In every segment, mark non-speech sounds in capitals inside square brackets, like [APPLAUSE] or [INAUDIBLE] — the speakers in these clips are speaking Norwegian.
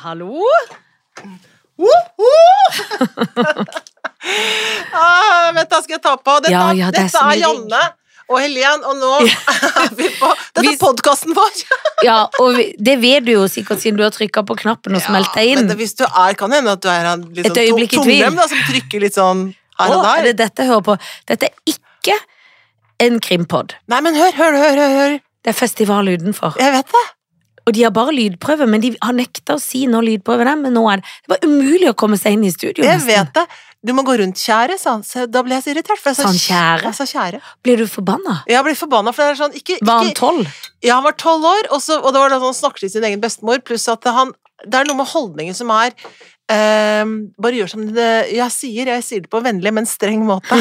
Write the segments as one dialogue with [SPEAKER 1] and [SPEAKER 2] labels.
[SPEAKER 1] Hallo?
[SPEAKER 2] Woho! [LAUGHS] ah, vent, da skal jeg ta på. Dette,
[SPEAKER 1] Ja, ja, det er
[SPEAKER 2] dette
[SPEAKER 1] så mye
[SPEAKER 2] er Janne og Helen, og nå [LAUGHS] er vi på Dette
[SPEAKER 1] Vi-
[SPEAKER 2] er podkasten vår!
[SPEAKER 1] Ja, og vi- det vet du jo sikkert siden du har trykka på knappen og smelt deg
[SPEAKER 2] Men
[SPEAKER 1] inn.
[SPEAKER 2] det, hvis du er, kan hende at du er en litt
[SPEAKER 1] Et
[SPEAKER 2] sånn to-
[SPEAKER 1] øyeblikk i tvil.
[SPEAKER 2] tungnem, da, som trykker litt sånn her og
[SPEAKER 1] Å, er
[SPEAKER 2] der.
[SPEAKER 1] det dette jeg hører på? Dette er ikke en krimpod.
[SPEAKER 2] Nei, men hør, hør, hør, hør, hør.
[SPEAKER 1] Det er festival utenfor.
[SPEAKER 2] Jeg vet det.
[SPEAKER 1] Og de har bare lydprøve, men de har nekta å si når lydprøven er. Men nå er det Det var umulig å komme seg inn i studio.
[SPEAKER 2] Jeg
[SPEAKER 1] nesten.
[SPEAKER 2] vet det. Du må gå rundt, kjære, sa han. Så Da ble jeg så irritert. For jeg sa,
[SPEAKER 1] Sa han kjære?
[SPEAKER 2] Jeg sa kjære.
[SPEAKER 1] Blir du forbanna?
[SPEAKER 2] Jeg ble forbanna, for det er sånn ikke,
[SPEAKER 1] Var han
[SPEAKER 2] ikke
[SPEAKER 1] tolv?
[SPEAKER 2] Ja, han var tolv år, og, så, og det var da han snakket til sin egen bestemor, pluss at han Det er noe med holdningen som er ehm, Bare gjør som det jeg sier, jeg sier det på en vennlig, men streng måte.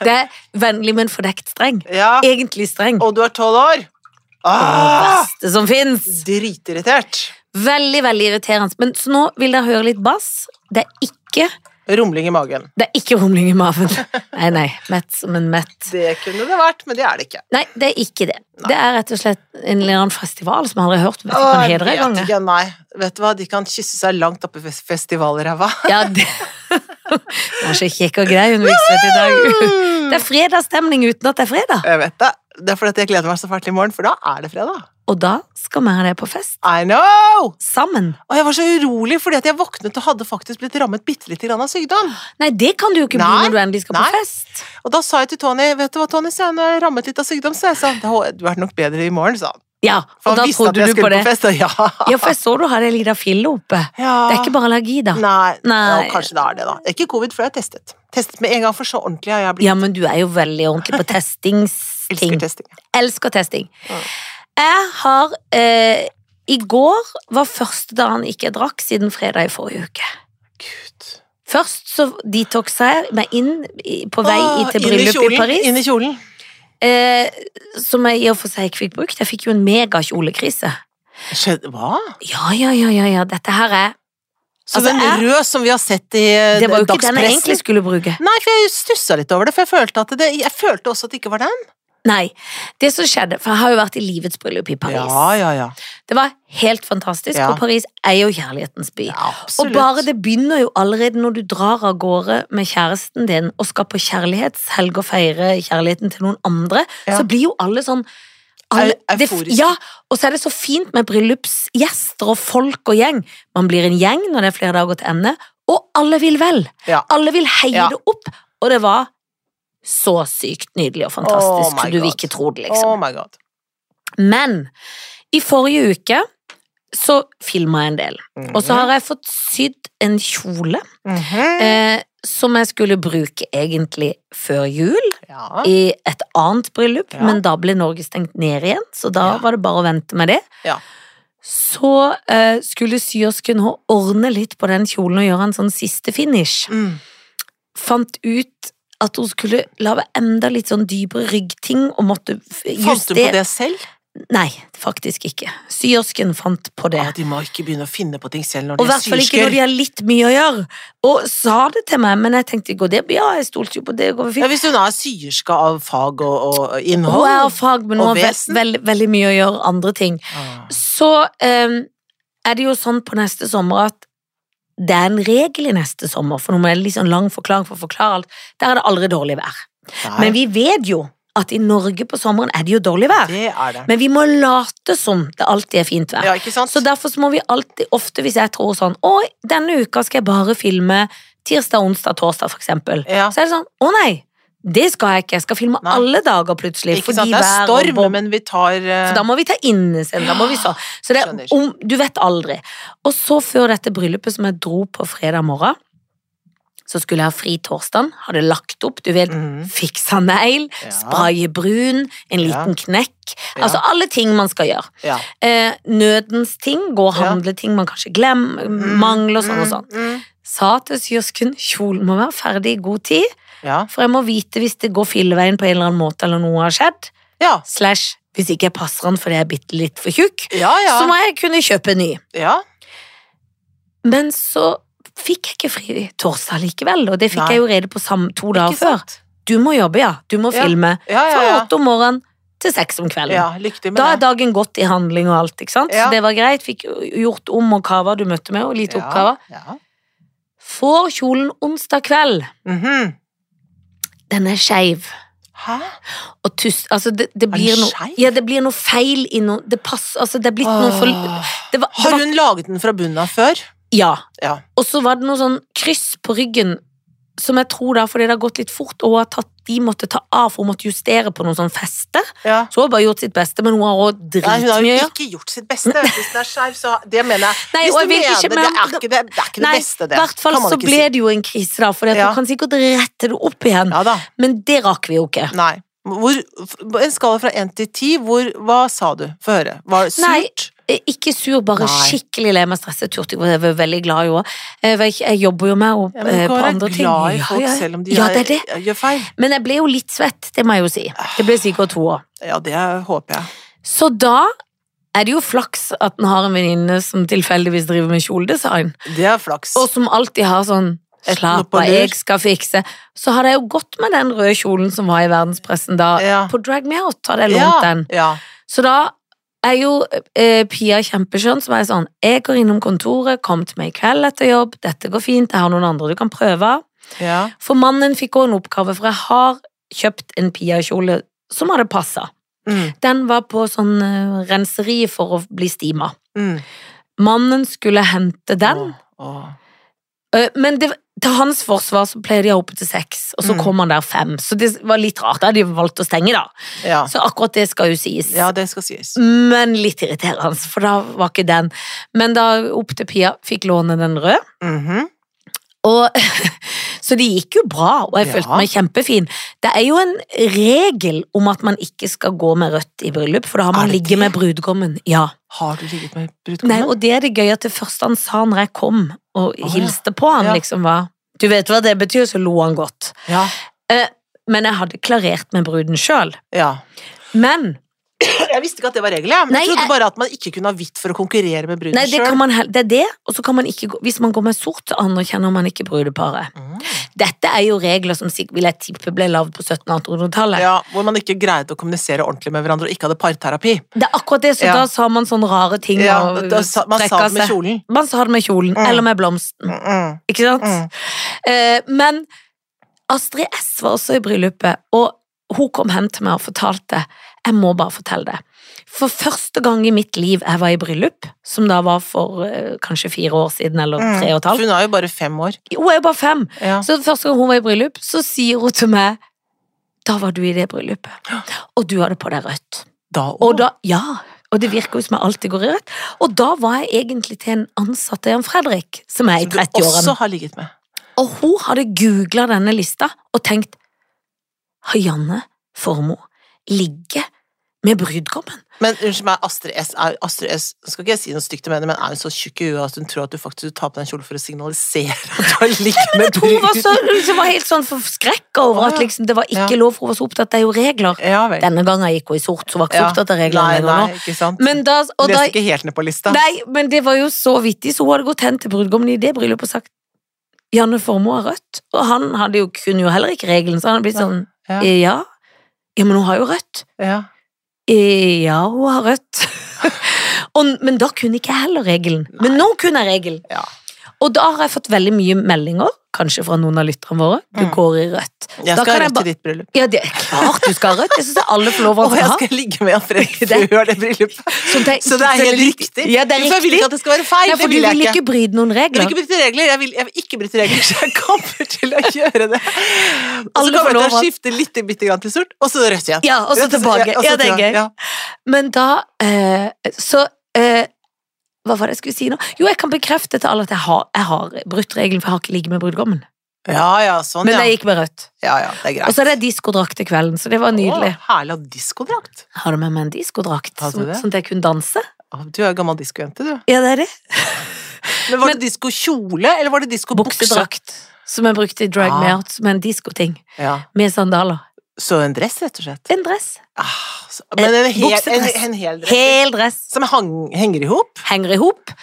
[SPEAKER 1] Det er vennlig, men fordekt streng.
[SPEAKER 2] ja.
[SPEAKER 1] Egentlig streng.
[SPEAKER 2] Og du er tolv år!
[SPEAKER 1] Det
[SPEAKER 2] Ah,
[SPEAKER 1] verste som fins.
[SPEAKER 2] dritirritert.
[SPEAKER 1] Veldig, veldig irriterende. Men så nå vil dere høre litt bass. Det er ikke
[SPEAKER 2] Rumling i magen.
[SPEAKER 1] det er ikke rumling i maven. Nei, nei. Mett som en mett.
[SPEAKER 2] Det kunne det vært, men det er det ikke.
[SPEAKER 1] Nei, det er ikke det. Det er rett og slett en eller annen festival som jeg aldri har hørt om. Vet ikke hva den
[SPEAKER 2] jeg
[SPEAKER 1] heter
[SPEAKER 2] vet
[SPEAKER 1] engang.
[SPEAKER 2] ikke, nei. Vet du hva, de kan kysse seg langt oppi fes- festivalræva.
[SPEAKER 1] Ja, det [LAUGHS] Det var så kjekk og grei hun viset i dag. Det
[SPEAKER 2] Mm.
[SPEAKER 1] er fredagsstemning uten at det er fredag.
[SPEAKER 2] [LAUGHS] Jeg vet det. Det er fordi at jeg gleder meg så fælt i morgen, for da er det fredag.
[SPEAKER 1] Og da skal vi ha det på fest.
[SPEAKER 2] I know!
[SPEAKER 1] Sammen.
[SPEAKER 2] Og jeg var så urolig fordi at jeg våknet og hadde faktisk blitt rammet bitte litt av sykdom.
[SPEAKER 1] Nei, det kan du jo ikke bli
[SPEAKER 2] Nei,
[SPEAKER 1] når du endelig skal
[SPEAKER 2] nei.
[SPEAKER 1] på fest.
[SPEAKER 2] Og da sa jeg til Tony vet du hva Tony, så jeg nå er jeg rammet litt av sykdom, så jeg sa det hadde vært nok bedre i morgen, sa han.
[SPEAKER 1] Ja,
[SPEAKER 2] For
[SPEAKER 1] og da
[SPEAKER 2] han visste at
[SPEAKER 1] trodde
[SPEAKER 2] jeg
[SPEAKER 1] du på
[SPEAKER 2] skulle
[SPEAKER 1] det.
[SPEAKER 2] på, fest, og [LAUGHS] ja.
[SPEAKER 1] Ja, for jeg så du hadde ei lita fille oppe.
[SPEAKER 2] ja.
[SPEAKER 1] Det er ikke bare allergi, da.
[SPEAKER 2] Nei,
[SPEAKER 1] Nei.
[SPEAKER 2] Ja, kanskje det er det, da. Ikke covid, for jeg har testet. Testet med en gang, for så ordentlig har jeg blitt.
[SPEAKER 1] Ja, men du er jo veldig ordentlig
[SPEAKER 2] [LAUGHS]
[SPEAKER 1] på testingsting.
[SPEAKER 2] Elsker testing.
[SPEAKER 1] Elsker testing.
[SPEAKER 2] Ja.
[SPEAKER 1] Jeg har eh, I går var første dagen ikke jeg drakk siden fredag i forrige uke.
[SPEAKER 2] Gud.
[SPEAKER 1] Først så detoxa jeg meg inn i- på vei i-
[SPEAKER 2] Åh,
[SPEAKER 1] til
[SPEAKER 2] inn
[SPEAKER 1] bryllup i
[SPEAKER 2] kjolen,
[SPEAKER 1] Paris,
[SPEAKER 2] Inn i kjolen.
[SPEAKER 1] eh, som jeg i og for seg ikke fikk brukt. Jeg fikk jo en megakjolekrise.
[SPEAKER 2] Skjønner, hva?
[SPEAKER 1] Ja, ja, ja, ja, ja, dette her er
[SPEAKER 2] Så
[SPEAKER 1] Altså,
[SPEAKER 2] den
[SPEAKER 1] jeg-
[SPEAKER 2] rød som vi har sett i eh,
[SPEAKER 1] Det var jo ikke den jeg egentlig
[SPEAKER 2] dagspressen
[SPEAKER 1] skulle bruke.
[SPEAKER 2] Nei, for jeg stussa litt over det, for jeg følte, at det, jeg følte også at det ikke var den.
[SPEAKER 1] Nei. Det som skjedde, for jeg har jo vært i livets bryllup i Paris.
[SPEAKER 2] Ja, ja, ja.
[SPEAKER 1] Det var helt fantastisk,
[SPEAKER 2] Ja.
[SPEAKER 1] og Paris er jo kjærlighetens by.
[SPEAKER 2] ja
[SPEAKER 1] Og
[SPEAKER 2] absolutt.
[SPEAKER 1] bare det begynner jo allerede når du drar av gårde med kjæresten din og skal på kjærlighetshelg og feire kjærligheten til noen andre,
[SPEAKER 2] Ja.
[SPEAKER 1] så blir jo alle sånn alle,
[SPEAKER 2] Eu-
[SPEAKER 1] det-
[SPEAKER 2] euforiske.
[SPEAKER 1] ja, og så er det så fint med bryllupsgjester og folk og gjeng. Man blir en gjeng når det er flere dager til ende, og alle vil vel.
[SPEAKER 2] Ja.
[SPEAKER 1] Alle vil heie
[SPEAKER 2] Ja.
[SPEAKER 1] det opp, og det var så sykt nydelig og fantastisk,
[SPEAKER 2] Oh my
[SPEAKER 1] så du vil
[SPEAKER 2] God.
[SPEAKER 1] ikke tro det, liksom.
[SPEAKER 2] Oh my god.
[SPEAKER 1] Men i forrige uke så filma jeg en del. Og så har jeg fått sydd en kjole
[SPEAKER 2] Mhm.
[SPEAKER 1] eh, som jeg skulle bruke egentlig før jul
[SPEAKER 2] Ja.
[SPEAKER 1] i et annet bryllup,
[SPEAKER 2] Ja.
[SPEAKER 1] men da ble Norge stengt ned igjen, så da
[SPEAKER 2] Ja.
[SPEAKER 1] var det bare å vente med det.
[SPEAKER 2] Ja.
[SPEAKER 1] Så eh, skulle syersken nå ordne litt på den kjolen og gjøre en sånn siste finish.
[SPEAKER 2] Mm.
[SPEAKER 1] Fant ut at hun skulle lage enda litt sånn dypere ryggting og måtte f-
[SPEAKER 2] Fant du på
[SPEAKER 1] justere
[SPEAKER 2] det selv?
[SPEAKER 1] Nei, faktisk ikke. Syersken fant på det.
[SPEAKER 2] Ja, de må ikke begynne å finne på ting selv når
[SPEAKER 1] Og i
[SPEAKER 2] de er
[SPEAKER 1] hvert fall ikke når
[SPEAKER 2] syrsker.
[SPEAKER 1] de har litt mye å gjøre. Og sa det til meg, men jeg tenkte går det Ja, jeg stolte jo på det. Går det
[SPEAKER 2] Ja,
[SPEAKER 1] fint?
[SPEAKER 2] hvis hun er syerske av fag og, og innhold.
[SPEAKER 1] Hun er av fag, men hun
[SPEAKER 2] Og
[SPEAKER 1] har veld,
[SPEAKER 2] vesen.
[SPEAKER 1] veld, veldig mye å gjøre andre ting.
[SPEAKER 2] Ah.
[SPEAKER 1] Så eh, er det jo sånn på neste sommer at det er en regel i neste sommer, for nå må jeg litt sånn lang forklaring for å forklare alt. Der er det aldri dårlig vær.
[SPEAKER 2] Nei,
[SPEAKER 1] Men vi vet jo at i Norge på sommeren er det jo dårlig vær.
[SPEAKER 2] det er det.
[SPEAKER 1] Men vi må late som det alltid er fint vær.
[SPEAKER 2] Ja, ikke sant?
[SPEAKER 1] Så derfor så må vi alltid, ofte hvis jeg tror sånn Å, denne uka skal jeg bare filme tirsdag, onsdag, torsdag, for eksempel.
[SPEAKER 2] ja.
[SPEAKER 1] Så er det sånn Å nei, det skal jeg ikke. Jeg skal filme
[SPEAKER 2] Nei.
[SPEAKER 1] alle dager plutselig.
[SPEAKER 2] Ikke sant? Det er
[SPEAKER 1] vær og
[SPEAKER 2] storm,
[SPEAKER 1] bob-
[SPEAKER 2] men vi tar eh,
[SPEAKER 1] For da må vi ta innescenen, da må vi så. Så det,
[SPEAKER 2] Skjønner.
[SPEAKER 1] er om, du vet aldri. Og så før dette bryllupet som jeg dro på fredag morgen, så skulle jeg ha fri torsdagen, hadde lagt opp, du vet,
[SPEAKER 2] Mhm.
[SPEAKER 1] fiksa negl,
[SPEAKER 2] Ja.
[SPEAKER 1] spraye brun, en
[SPEAKER 2] Ja.
[SPEAKER 1] liten knekk.
[SPEAKER 2] Ja.
[SPEAKER 1] Altså alle ting man skal gjøre.
[SPEAKER 2] ja.
[SPEAKER 1] Eh, nødens ting, gå og
[SPEAKER 2] Ja.
[SPEAKER 1] handle ting man kanskje glemmer, mangler og sånn og sånn.
[SPEAKER 2] Mm, mm.
[SPEAKER 1] Sa til syersken kjolen må være ferdig i god tid,
[SPEAKER 2] Ja.
[SPEAKER 1] for jeg må vite hvis det går filleveien på en eller annen måte eller noe har skjedd,
[SPEAKER 2] Ja.
[SPEAKER 1] slash hvis ikke jeg passer den fordi jeg er bitte litt for tjukk,
[SPEAKER 2] Ja, ja.
[SPEAKER 1] så må jeg kunne kjøpe en ny.
[SPEAKER 2] ja.
[SPEAKER 1] Men så fikk jeg ikke fri torsdag likevel, og det fikk
[SPEAKER 2] Nei.
[SPEAKER 1] jeg jo rede på sam- to dager
[SPEAKER 2] Ikke
[SPEAKER 1] før.
[SPEAKER 2] sant?
[SPEAKER 1] Du må jobbe, ja. Du må
[SPEAKER 2] Ja.
[SPEAKER 1] filme.
[SPEAKER 2] Ja, ja,
[SPEAKER 1] Fra
[SPEAKER 2] ja.
[SPEAKER 1] åtte om morgenen til seks om kvelden.
[SPEAKER 2] Ja, lykke til med
[SPEAKER 1] Da er
[SPEAKER 2] det.
[SPEAKER 1] dagen gått i handling og alt, ikke sant?
[SPEAKER 2] Ja.
[SPEAKER 1] Så det var greit. Fikk gjort om oppgaver du møtte med, og lite
[SPEAKER 2] Ja,
[SPEAKER 1] oppgaver.
[SPEAKER 2] Ja.
[SPEAKER 1] Får kjolen onsdag kveld.
[SPEAKER 2] Mhm.
[SPEAKER 1] Den er skeiv.
[SPEAKER 2] Hæ?
[SPEAKER 1] Og tus, altså det, det
[SPEAKER 2] den
[SPEAKER 1] blir noe
[SPEAKER 2] skeiv?
[SPEAKER 1] ja, det blir noe feil i noe Det pass, altså det er blitt noe for
[SPEAKER 2] Åh.
[SPEAKER 1] det var, det
[SPEAKER 2] Har
[SPEAKER 1] var,
[SPEAKER 2] hun laget den fra bunnen av før?
[SPEAKER 1] Ja.
[SPEAKER 2] Ja.
[SPEAKER 1] Og så var det noe sånn kryss på ryggen som jeg tror da, fordi det har gått litt fort, og hun har tatt, de måtte ta av, for hun måtte justere på noen sånn feste.
[SPEAKER 2] ja.
[SPEAKER 1] Så hun har bare gjort sitt beste, men hun har òg
[SPEAKER 2] Nei, hun
[SPEAKER 1] dritmye
[SPEAKER 2] har
[SPEAKER 1] å
[SPEAKER 2] jo
[SPEAKER 1] gjøre.
[SPEAKER 2] ikke gjort sitt
[SPEAKER 1] [LAUGHS]
[SPEAKER 2] beste. vet du. Hvis den er skeiv, så det mener jeg.
[SPEAKER 1] Nei,
[SPEAKER 2] Hvis
[SPEAKER 1] og jeg
[SPEAKER 2] du
[SPEAKER 1] vil
[SPEAKER 2] mener
[SPEAKER 1] ikke,
[SPEAKER 2] det,
[SPEAKER 1] men-
[SPEAKER 2] er ikke det, det er ikke det
[SPEAKER 1] Nei,
[SPEAKER 2] beste,
[SPEAKER 1] I
[SPEAKER 2] det.
[SPEAKER 1] hvert fall
[SPEAKER 2] Kan man
[SPEAKER 1] så
[SPEAKER 2] ikke
[SPEAKER 1] ble
[SPEAKER 2] si.
[SPEAKER 1] det jo en krise, da, for
[SPEAKER 2] Ja.
[SPEAKER 1] du kan sikkert rette det opp igjen.
[SPEAKER 2] Ja da.
[SPEAKER 1] Men det rakk vi jo ikke.
[SPEAKER 2] Nei. Hvor, en skala fra én til ti, hvor Hva sa du? Få høre. Var det
[SPEAKER 1] Nei.
[SPEAKER 2] surt?
[SPEAKER 1] Eh, Ikke sur, bare
[SPEAKER 2] Nei.
[SPEAKER 1] skikkelig lei meg stresset. Turte ikke, jeg var veldig glad i henne. Eh, for Jeg, jeg jobber jo med
[SPEAKER 2] Ja,
[SPEAKER 1] henne
[SPEAKER 2] men
[SPEAKER 1] eh,
[SPEAKER 2] du
[SPEAKER 1] på
[SPEAKER 2] kan være
[SPEAKER 1] andre ting.
[SPEAKER 2] glad i folk
[SPEAKER 1] ja, ja.
[SPEAKER 2] selv om de
[SPEAKER 1] ja,
[SPEAKER 2] er-
[SPEAKER 1] det er det.
[SPEAKER 2] gjør feil.
[SPEAKER 1] Men jeg ble jo litt svett, det må jeg jo si. Det ble sikkert to år.
[SPEAKER 2] Ja, det håper jeg.
[SPEAKER 1] Så da er det jo flaks at en har en venninne som tilfeldigvis driver med kjoledesign,
[SPEAKER 2] Det er flaks.
[SPEAKER 1] og som alltid har sånn
[SPEAKER 2] Et
[SPEAKER 1] Slapp
[SPEAKER 2] noe på
[SPEAKER 1] av,
[SPEAKER 2] lur.
[SPEAKER 1] jeg skal fikse. Så hadde jeg jo gått med den røde kjolen som var i verdenspressen da.
[SPEAKER 2] Ja.
[SPEAKER 1] På Drag Me Out hadde jeg
[SPEAKER 2] ja,
[SPEAKER 1] lånt den.
[SPEAKER 2] Ja.
[SPEAKER 1] Så da er jo eh, Pia kjempeskjønn, som er sånn Jeg går innom kontoret, kom til meg i kveld etter jobb, dette går fint, jeg har noen andre du kan prøve.
[SPEAKER 2] ja.
[SPEAKER 1] For mannen fikk også en oppgave, for jeg har kjøpt en Pia-kjole som hadde passa.
[SPEAKER 2] Mm,
[SPEAKER 1] Den var på sånn eh, renseri for å bli stima.
[SPEAKER 2] mm.
[SPEAKER 1] Mannen skulle hente den,
[SPEAKER 2] Åh, åh.
[SPEAKER 1] eh, men det, til hans forsvar så pleide de å ha oppe til seks, og så
[SPEAKER 2] Mm.
[SPEAKER 1] kom han der fem. Så det var litt rart, da hadde de valgt å stenge, da.
[SPEAKER 2] Ja.
[SPEAKER 1] Så akkurat det skal jo sies.
[SPEAKER 2] ja, det skal sies.
[SPEAKER 1] Men litt irriterende, for da var ikke den. Men da opp til Pia fikk låne den røde.
[SPEAKER 2] Mhm.
[SPEAKER 1] Og, [LAUGHS] så det gikk jo bra, og jeg
[SPEAKER 2] Ja.
[SPEAKER 1] følte meg kjempefin. Det er jo en regel om at man ikke skal gå med rødt i bryllup, for da har
[SPEAKER 2] Er
[SPEAKER 1] man
[SPEAKER 2] det
[SPEAKER 1] ligget
[SPEAKER 2] det?
[SPEAKER 1] med brudgommen. Ja.
[SPEAKER 2] Har du ligget med
[SPEAKER 1] Nei,
[SPEAKER 2] brudgommen?
[SPEAKER 1] og det er det gøye at det første han sa når jeg kom og
[SPEAKER 2] ja.
[SPEAKER 1] hilste på han,
[SPEAKER 2] Ja.
[SPEAKER 1] liksom var Du vet hva det betyr, så lo han godt.
[SPEAKER 2] Ja.
[SPEAKER 1] Men jeg hadde klarert med bruden sjøl.
[SPEAKER 2] ja.
[SPEAKER 1] Men
[SPEAKER 2] Jeg visste ikke at det var regelen. jeg. Men
[SPEAKER 1] Nei,
[SPEAKER 2] jeg trodde
[SPEAKER 1] jeg-
[SPEAKER 2] bare at man ikke kunne ha hvitt for å konkurrere med bruden
[SPEAKER 1] nei, det, kan
[SPEAKER 2] sjøl.
[SPEAKER 1] man, hel- det er det, og så kan man ikke gå Hvis man går med sort, så anerkjenner man ikke brudeparet.
[SPEAKER 2] Mm.
[SPEAKER 1] Dette er jo regler som sikkert vil jeg tippe ble lagd på 1700-1800-tallet.
[SPEAKER 2] Ja, hvor man ikke greide å kommunisere ordentlig med hverandre og ikke hadde parterapi.
[SPEAKER 1] Det er akkurat det, så
[SPEAKER 2] Ja.
[SPEAKER 1] da sa man sånne rare ting
[SPEAKER 2] Ja,
[SPEAKER 1] og
[SPEAKER 2] da sa, man sa
[SPEAKER 1] strekka
[SPEAKER 2] det med
[SPEAKER 1] seg.
[SPEAKER 2] kjolen.
[SPEAKER 1] Man sa det med kjolen,
[SPEAKER 2] Mm.
[SPEAKER 1] eller med blomsten,
[SPEAKER 2] Mm, mm,
[SPEAKER 1] ikke sant?
[SPEAKER 2] mm.
[SPEAKER 1] Eh, men Astrid S var også i bryllupet, og hun kom hen til meg og fortalte Jeg må bare fortelle det. For første gang i mitt liv jeg var i bryllup, som da var for eh, kanskje fire år siden, eller
[SPEAKER 2] Mm.
[SPEAKER 1] tre og et
[SPEAKER 2] For
[SPEAKER 1] halvt
[SPEAKER 2] hun er jo bare fem år.
[SPEAKER 1] Hun er jo bare fem,
[SPEAKER 2] Ja.
[SPEAKER 1] så første gang hun var i bryllup, så sier hun til meg Da var du i det bryllupet, og du hadde på deg rødt.
[SPEAKER 2] Da
[SPEAKER 1] Og
[SPEAKER 2] òg.
[SPEAKER 1] da, ja, og det virker jo som jeg alltid går i rett. Og da var jeg egentlig til en ansatt av Jan Fredrik, som er i
[SPEAKER 2] Som du
[SPEAKER 1] 30-årene.
[SPEAKER 2] også har ligget med.
[SPEAKER 1] Og hun hadde googla denne lista og tenkt Har Janne Formoe ligget med brudgommen?
[SPEAKER 2] Men unnskyld meg, Astrid S, er, Astrid S skal ikke jeg si noe stygt om henne, men er hun så tjukk i huet at hun tror at du faktisk tar på deg en kjole for å signalisere at du har ligget med
[SPEAKER 1] Hun var, så,
[SPEAKER 2] bruden?
[SPEAKER 1] liksom, var helt sånn forskrekka
[SPEAKER 2] Å,
[SPEAKER 1] over at
[SPEAKER 2] ja.
[SPEAKER 1] liksom, det var ikke
[SPEAKER 2] Ja.
[SPEAKER 1] lov, for hun var så opptatt av regler.
[SPEAKER 2] Ja vel.
[SPEAKER 1] Denne gangen gikk hun i sort, så hun var ikke så
[SPEAKER 2] Ja.
[SPEAKER 1] opptatt av
[SPEAKER 2] Nei,
[SPEAKER 1] reglene
[SPEAKER 2] nei,
[SPEAKER 1] lenger nå.
[SPEAKER 2] ikke sant.
[SPEAKER 1] Men da, og da,
[SPEAKER 2] Leste ikke helt ned på lista.
[SPEAKER 1] Nei, men det var jo så vittig, så hun hadde gått hen til brudgommen i det bryllupet og sagt Janne Formoe har rødt, og han hadde jo, kunne jo heller ikke regelen, så han hadde blitt
[SPEAKER 2] Nei,
[SPEAKER 1] sånn
[SPEAKER 2] ja.
[SPEAKER 1] «Eh, ja. ja, men hun har jo rødt.
[SPEAKER 2] Ja.
[SPEAKER 1] «Eh, Ja, hun har rødt. [LAUGHS] og, men da kunne ikke jeg heller regelen. Men nå kunne jeg regelen.
[SPEAKER 2] Ja.
[SPEAKER 1] Og da har jeg fått veldig mye meldinger, kanskje fra noen av lytterne våre. Du
[SPEAKER 2] Mm.
[SPEAKER 1] går i rødt.
[SPEAKER 2] Jeg
[SPEAKER 1] Da
[SPEAKER 2] skal ha
[SPEAKER 1] kan jeg
[SPEAKER 2] rødt
[SPEAKER 1] ba-
[SPEAKER 2] til ditt bryllup.
[SPEAKER 1] Ja, det er klart du skal ha rødt. Det syns jeg alle får lov å
[SPEAKER 2] Og jeg
[SPEAKER 1] ha.
[SPEAKER 2] skal ligge med Fredrik
[SPEAKER 1] [LAUGHS] Det-
[SPEAKER 2] før det bryllupet.
[SPEAKER 1] [LAUGHS] Sånn at jeg
[SPEAKER 2] Så
[SPEAKER 1] ikke
[SPEAKER 2] det er helt
[SPEAKER 1] føler-
[SPEAKER 2] riktig.
[SPEAKER 1] Ja, det er
[SPEAKER 2] For jeg vil
[SPEAKER 1] riktig.
[SPEAKER 2] ikke at det skal være feil.
[SPEAKER 1] Ja,
[SPEAKER 2] det
[SPEAKER 1] for du
[SPEAKER 2] vil
[SPEAKER 1] vil
[SPEAKER 2] jeg
[SPEAKER 1] ikke
[SPEAKER 2] ikke.
[SPEAKER 1] bryte noen
[SPEAKER 2] Jeg vil
[SPEAKER 1] regler.
[SPEAKER 2] ikke bryte regler, jeg vil, jeg vil ikke bryte regler, så jeg kommer til
[SPEAKER 1] [LAUGHS]
[SPEAKER 2] å gjøre det. Og
[SPEAKER 1] Alle får
[SPEAKER 2] så kommer jeg til
[SPEAKER 1] lov
[SPEAKER 2] å
[SPEAKER 1] at-
[SPEAKER 2] skifte litt, bitte grann til sort, og så rødt igjen.
[SPEAKER 1] Ja, og så
[SPEAKER 2] Rødt,
[SPEAKER 1] tilbake.
[SPEAKER 2] og så
[SPEAKER 1] Ja, det er
[SPEAKER 2] altså tilbake.
[SPEAKER 1] gøy.
[SPEAKER 2] Ja.
[SPEAKER 1] Men da eh, Så eh, Hva var det jeg skulle si nå? Jo, jeg kan bekrefte til alle at jeg har, jeg har brutt regelen, for jeg har ikke ligget med brudgommen.
[SPEAKER 2] Ja, ja, sånn,
[SPEAKER 1] Men
[SPEAKER 2] ja.
[SPEAKER 1] jeg gikk med rødt.
[SPEAKER 2] Ja, ja, det er greit.
[SPEAKER 1] Og så er det diskodrakt til kvelden, så det var nydelig.
[SPEAKER 2] Å, herlig av diskodrakt.
[SPEAKER 1] Jeg Har du med meg en diskodrakt,
[SPEAKER 2] Har du
[SPEAKER 1] sånn
[SPEAKER 2] det?
[SPEAKER 1] sånn at jeg kunne danse?
[SPEAKER 2] Å, Du er jo gammel diskojente, du.
[SPEAKER 1] Ja, det er det.
[SPEAKER 2] Men var det diskokjole, eller var det diskobukse? Ah.
[SPEAKER 1] Buksedrakt. Som jeg brukte i Drag Me Out, som er en diskoting.
[SPEAKER 2] Ja.
[SPEAKER 1] Med sandaler.
[SPEAKER 2] Så en dress, rett og slett.
[SPEAKER 1] En dress.
[SPEAKER 2] Ah, så, men en hel, en,
[SPEAKER 1] buksedress.
[SPEAKER 2] en hel dress.
[SPEAKER 1] Hel dress.
[SPEAKER 2] Som hang, henger i hop.
[SPEAKER 1] Henger i hop.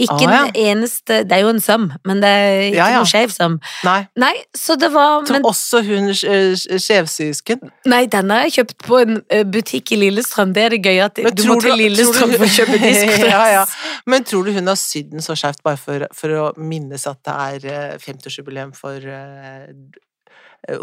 [SPEAKER 1] Ikke
[SPEAKER 2] Å, Ah, ja.
[SPEAKER 1] en eneste Det er jo en søm, men det er ikke
[SPEAKER 2] Ja, ja.
[SPEAKER 1] noe skjev søm.
[SPEAKER 2] Nei.
[SPEAKER 1] Nei, så det var
[SPEAKER 2] Som
[SPEAKER 1] men,
[SPEAKER 2] også hun eh, skjevsysken.
[SPEAKER 1] Nei, den har jeg kjøpt på en eh, butikk i Lillestrøm. Det er det gøye at
[SPEAKER 2] Men
[SPEAKER 1] du må
[SPEAKER 2] tror
[SPEAKER 1] til
[SPEAKER 2] du- tror
[SPEAKER 1] Lillestrøm
[SPEAKER 2] du-
[SPEAKER 1] for å kjøpe diskodress.
[SPEAKER 2] [LAUGHS] Ja, ja. Men tror du hun har sydd den så skjevt bare for, for å minnes at det er eh, 50-årsjubileum for eh, eh,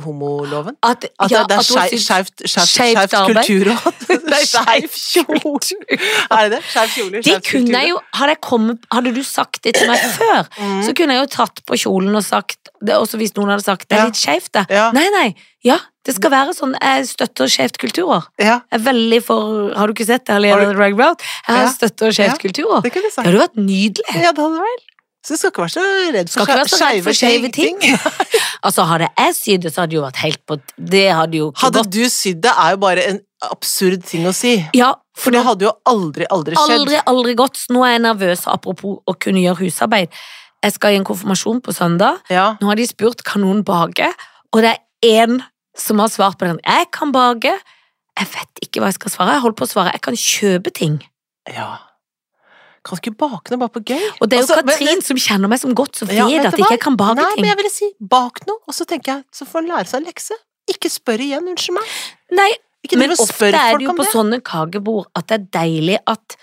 [SPEAKER 2] homoloven?
[SPEAKER 1] At,
[SPEAKER 2] At
[SPEAKER 1] ja,
[SPEAKER 2] det, det
[SPEAKER 1] at hun har
[SPEAKER 2] er
[SPEAKER 1] sydd- [LAUGHS]
[SPEAKER 2] skeivt
[SPEAKER 1] skeivt arbeid.
[SPEAKER 2] kulturråd?
[SPEAKER 1] [LAUGHS] Det er
[SPEAKER 2] Skeiv [LAUGHS] kjole! Er det det? Skeiv kjole,
[SPEAKER 1] Det
[SPEAKER 2] skeiv
[SPEAKER 1] kunne jeg jo Hadde, jeg kommet, hadde du sagt det til
[SPEAKER 2] [CLEARS THROAT]
[SPEAKER 1] meg før,
[SPEAKER 2] Mm.
[SPEAKER 1] så kunne jeg jo tatt på kjolen og sagt det, Også hvis noen hadde sagt det
[SPEAKER 2] Ja.
[SPEAKER 1] er litt skeivt, det.
[SPEAKER 2] Ja.
[SPEAKER 1] Nei, nei. Ja, det skal være sånn. Jeg støtter skeivt kulturår.
[SPEAKER 2] Ja,
[SPEAKER 1] Jeg er veldig for Har du ikke sett det? Har
[SPEAKER 2] Har
[SPEAKER 1] du... Drag Race? Jeg
[SPEAKER 2] Ja.
[SPEAKER 1] støtter
[SPEAKER 2] Ja.
[SPEAKER 1] skeivt kulturår.
[SPEAKER 2] det kunne jeg
[SPEAKER 1] Det
[SPEAKER 2] sagt.
[SPEAKER 1] hadde vært nydelig.
[SPEAKER 2] Ja, det hadde du vel. Så du skal ikke være så redd
[SPEAKER 1] Skal
[SPEAKER 2] for
[SPEAKER 1] ikke være så redd
[SPEAKER 2] skeive
[SPEAKER 1] for skeive ting. Altså, hadde jeg sydd det, så hadde det jo vært helt på Det hadde jo ikke
[SPEAKER 2] Hadde
[SPEAKER 1] gått.
[SPEAKER 2] du sydd det, er jo bare en absurd ting å si.
[SPEAKER 1] Ja,
[SPEAKER 2] For det hadde jo aldri, aldri skjedd.
[SPEAKER 1] Aldri, aldri gått. Så Nå er jeg nervøs, apropos å kunne gjøre husarbeid. Jeg skal i en konfirmasjon på søndag.
[SPEAKER 2] Ja.
[SPEAKER 1] Nå har de spurt kan noen bake, og det er én som har svart på den. Jeg kan bake. Jeg vet ikke hva jeg skal svare. Jeg holder på å svare. Jeg kan kjøpe ting.
[SPEAKER 2] ja. Kan du ikke bake noe bare på gøy?
[SPEAKER 1] Og det er jo
[SPEAKER 2] Altså, men-
[SPEAKER 1] Katrin som kjenner meg som godt, som vet
[SPEAKER 2] Ja, vet
[SPEAKER 1] at
[SPEAKER 2] du
[SPEAKER 1] ikke
[SPEAKER 2] hva?
[SPEAKER 1] jeg kan bake
[SPEAKER 2] Nei,
[SPEAKER 1] ting.
[SPEAKER 2] men jeg ville si bak noe, og så tenker jeg, så får han lære seg en lekse. Ikke spør igjen, unnskyld meg.
[SPEAKER 1] Nei,
[SPEAKER 2] Ikke
[SPEAKER 1] men
[SPEAKER 2] driv og
[SPEAKER 1] ofte
[SPEAKER 2] spør
[SPEAKER 1] er det
[SPEAKER 2] folk
[SPEAKER 1] jo
[SPEAKER 2] om
[SPEAKER 1] på
[SPEAKER 2] det.
[SPEAKER 1] sånne kakebord at det er deilig at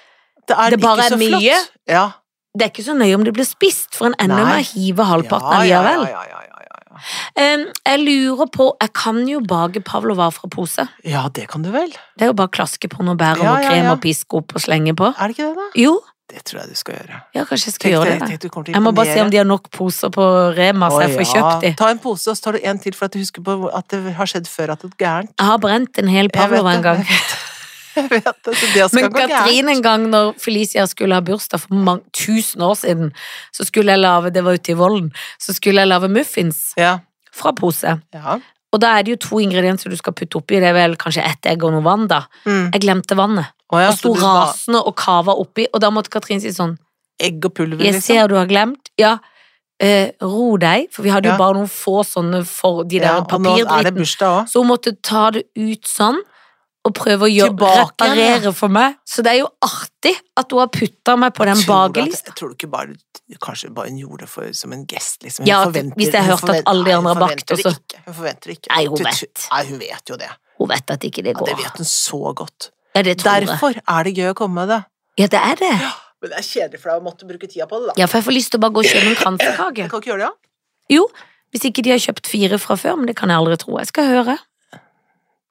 [SPEAKER 2] Det er,
[SPEAKER 1] det
[SPEAKER 2] ikke
[SPEAKER 1] bare er
[SPEAKER 2] så
[SPEAKER 1] mye.
[SPEAKER 2] flott. Ja.
[SPEAKER 1] det er ikke så nøye om det blir spist, for en ender
[SPEAKER 2] Nei.
[SPEAKER 1] med å hive halvparten
[SPEAKER 2] Ja, ja,
[SPEAKER 1] allikevel.
[SPEAKER 2] Ja, ja, ja, ja, ja.
[SPEAKER 1] Em, Jeg lurer på Jeg kan jo bake pavlovar fra pose.
[SPEAKER 2] ja, det kan du vel.
[SPEAKER 1] Det er jo bare å klaske på noe bær og
[SPEAKER 2] Ja,
[SPEAKER 1] noe
[SPEAKER 2] ja,
[SPEAKER 1] krem
[SPEAKER 2] ja.
[SPEAKER 1] og piske opp og slenge på.
[SPEAKER 2] Er det ikke det, da?
[SPEAKER 1] Jo,
[SPEAKER 2] Det tror jeg du skal gjøre.
[SPEAKER 1] ja, kanskje jeg skal
[SPEAKER 2] Tenk
[SPEAKER 1] gjøre det.
[SPEAKER 2] deg-
[SPEAKER 1] da.
[SPEAKER 2] tenk du kommer til å
[SPEAKER 1] Jeg må bare se om
[SPEAKER 2] imponere.
[SPEAKER 1] de har nok poser på Rema, så jeg
[SPEAKER 2] Å,
[SPEAKER 1] får
[SPEAKER 2] ja.
[SPEAKER 1] kjøpt de.
[SPEAKER 2] Ta en pose, og så tar du en til for at du husker på at det har skjedd før at det er gærent.
[SPEAKER 1] Jeg har brent en hel
[SPEAKER 2] Jeg vet
[SPEAKER 1] pavlova en
[SPEAKER 2] [LAUGHS] det,
[SPEAKER 1] gang.
[SPEAKER 2] Jeg vet det, så det skal
[SPEAKER 1] Men
[SPEAKER 2] gå gærent.
[SPEAKER 1] Katrin en gang når Felicia skulle ha bursdag for mange, tusen år siden, så skulle jeg lage, det var ute i Vollen, så skulle jeg lage muffins
[SPEAKER 2] Ja.
[SPEAKER 1] fra pose.
[SPEAKER 2] ja.
[SPEAKER 1] Og da er det jo to ingredienser du skal putte oppi, det er vel kanskje ett egg og noe vann da.
[SPEAKER 2] Mm.
[SPEAKER 1] Jeg glemte vannet,
[SPEAKER 2] Å, ja,
[SPEAKER 1] og
[SPEAKER 2] så
[SPEAKER 1] sto
[SPEAKER 2] du ba-
[SPEAKER 1] rasende og kava oppi, og da måtte Katrin si sånn,
[SPEAKER 2] Egg og pulver,
[SPEAKER 1] jeg
[SPEAKER 2] liksom.
[SPEAKER 1] ser du har glemt, ja, eh, ro deg, for vi hadde jo
[SPEAKER 2] Ja.
[SPEAKER 1] bare noen få sånne for de der
[SPEAKER 2] Ja, og nå er det
[SPEAKER 1] papirdritten.
[SPEAKER 2] bursdag òg.
[SPEAKER 1] Så hun måtte ta det ut sånn, og prøve å gjøre,
[SPEAKER 2] Tilbake igjen, ja.
[SPEAKER 1] reparere for meg. Så det er jo artig at hun har putta meg på den
[SPEAKER 2] Tror du at-
[SPEAKER 1] bakelista.
[SPEAKER 2] Tror du ikke bare Kanskje bare hun gjorde det for, som en gest, liksom?
[SPEAKER 1] Ja, at
[SPEAKER 2] forventer-
[SPEAKER 1] hvis jeg
[SPEAKER 2] hun
[SPEAKER 1] hørte at
[SPEAKER 2] forvent-
[SPEAKER 1] alle de
[SPEAKER 2] Nei,
[SPEAKER 1] andre
[SPEAKER 2] hun
[SPEAKER 1] har bakt,
[SPEAKER 2] forventer det
[SPEAKER 1] også.
[SPEAKER 2] ikke. Hun forventer det ikke.
[SPEAKER 1] Nei, hun
[SPEAKER 2] Du
[SPEAKER 1] vet.
[SPEAKER 2] tr- Nei, hun vet jo det.
[SPEAKER 1] Hun vet at ikke det
[SPEAKER 2] Ja,
[SPEAKER 1] går.
[SPEAKER 2] det vet hun så godt.
[SPEAKER 1] Ja, det tror jeg.
[SPEAKER 2] Derfor er det gøy å komme med det.
[SPEAKER 1] Ja, det er det.
[SPEAKER 2] Men det er kjedelig for deg å måtte bruke tida på det, da.
[SPEAKER 1] Ja, for jeg får lyst til å bare gå og kjøpe en kransekake.
[SPEAKER 2] Jeg kan ikke gjøre det, ja?
[SPEAKER 1] Jo, hvis ikke de har kjøpt fire fra før, men det kan jeg aldri tro. Jeg skal høre.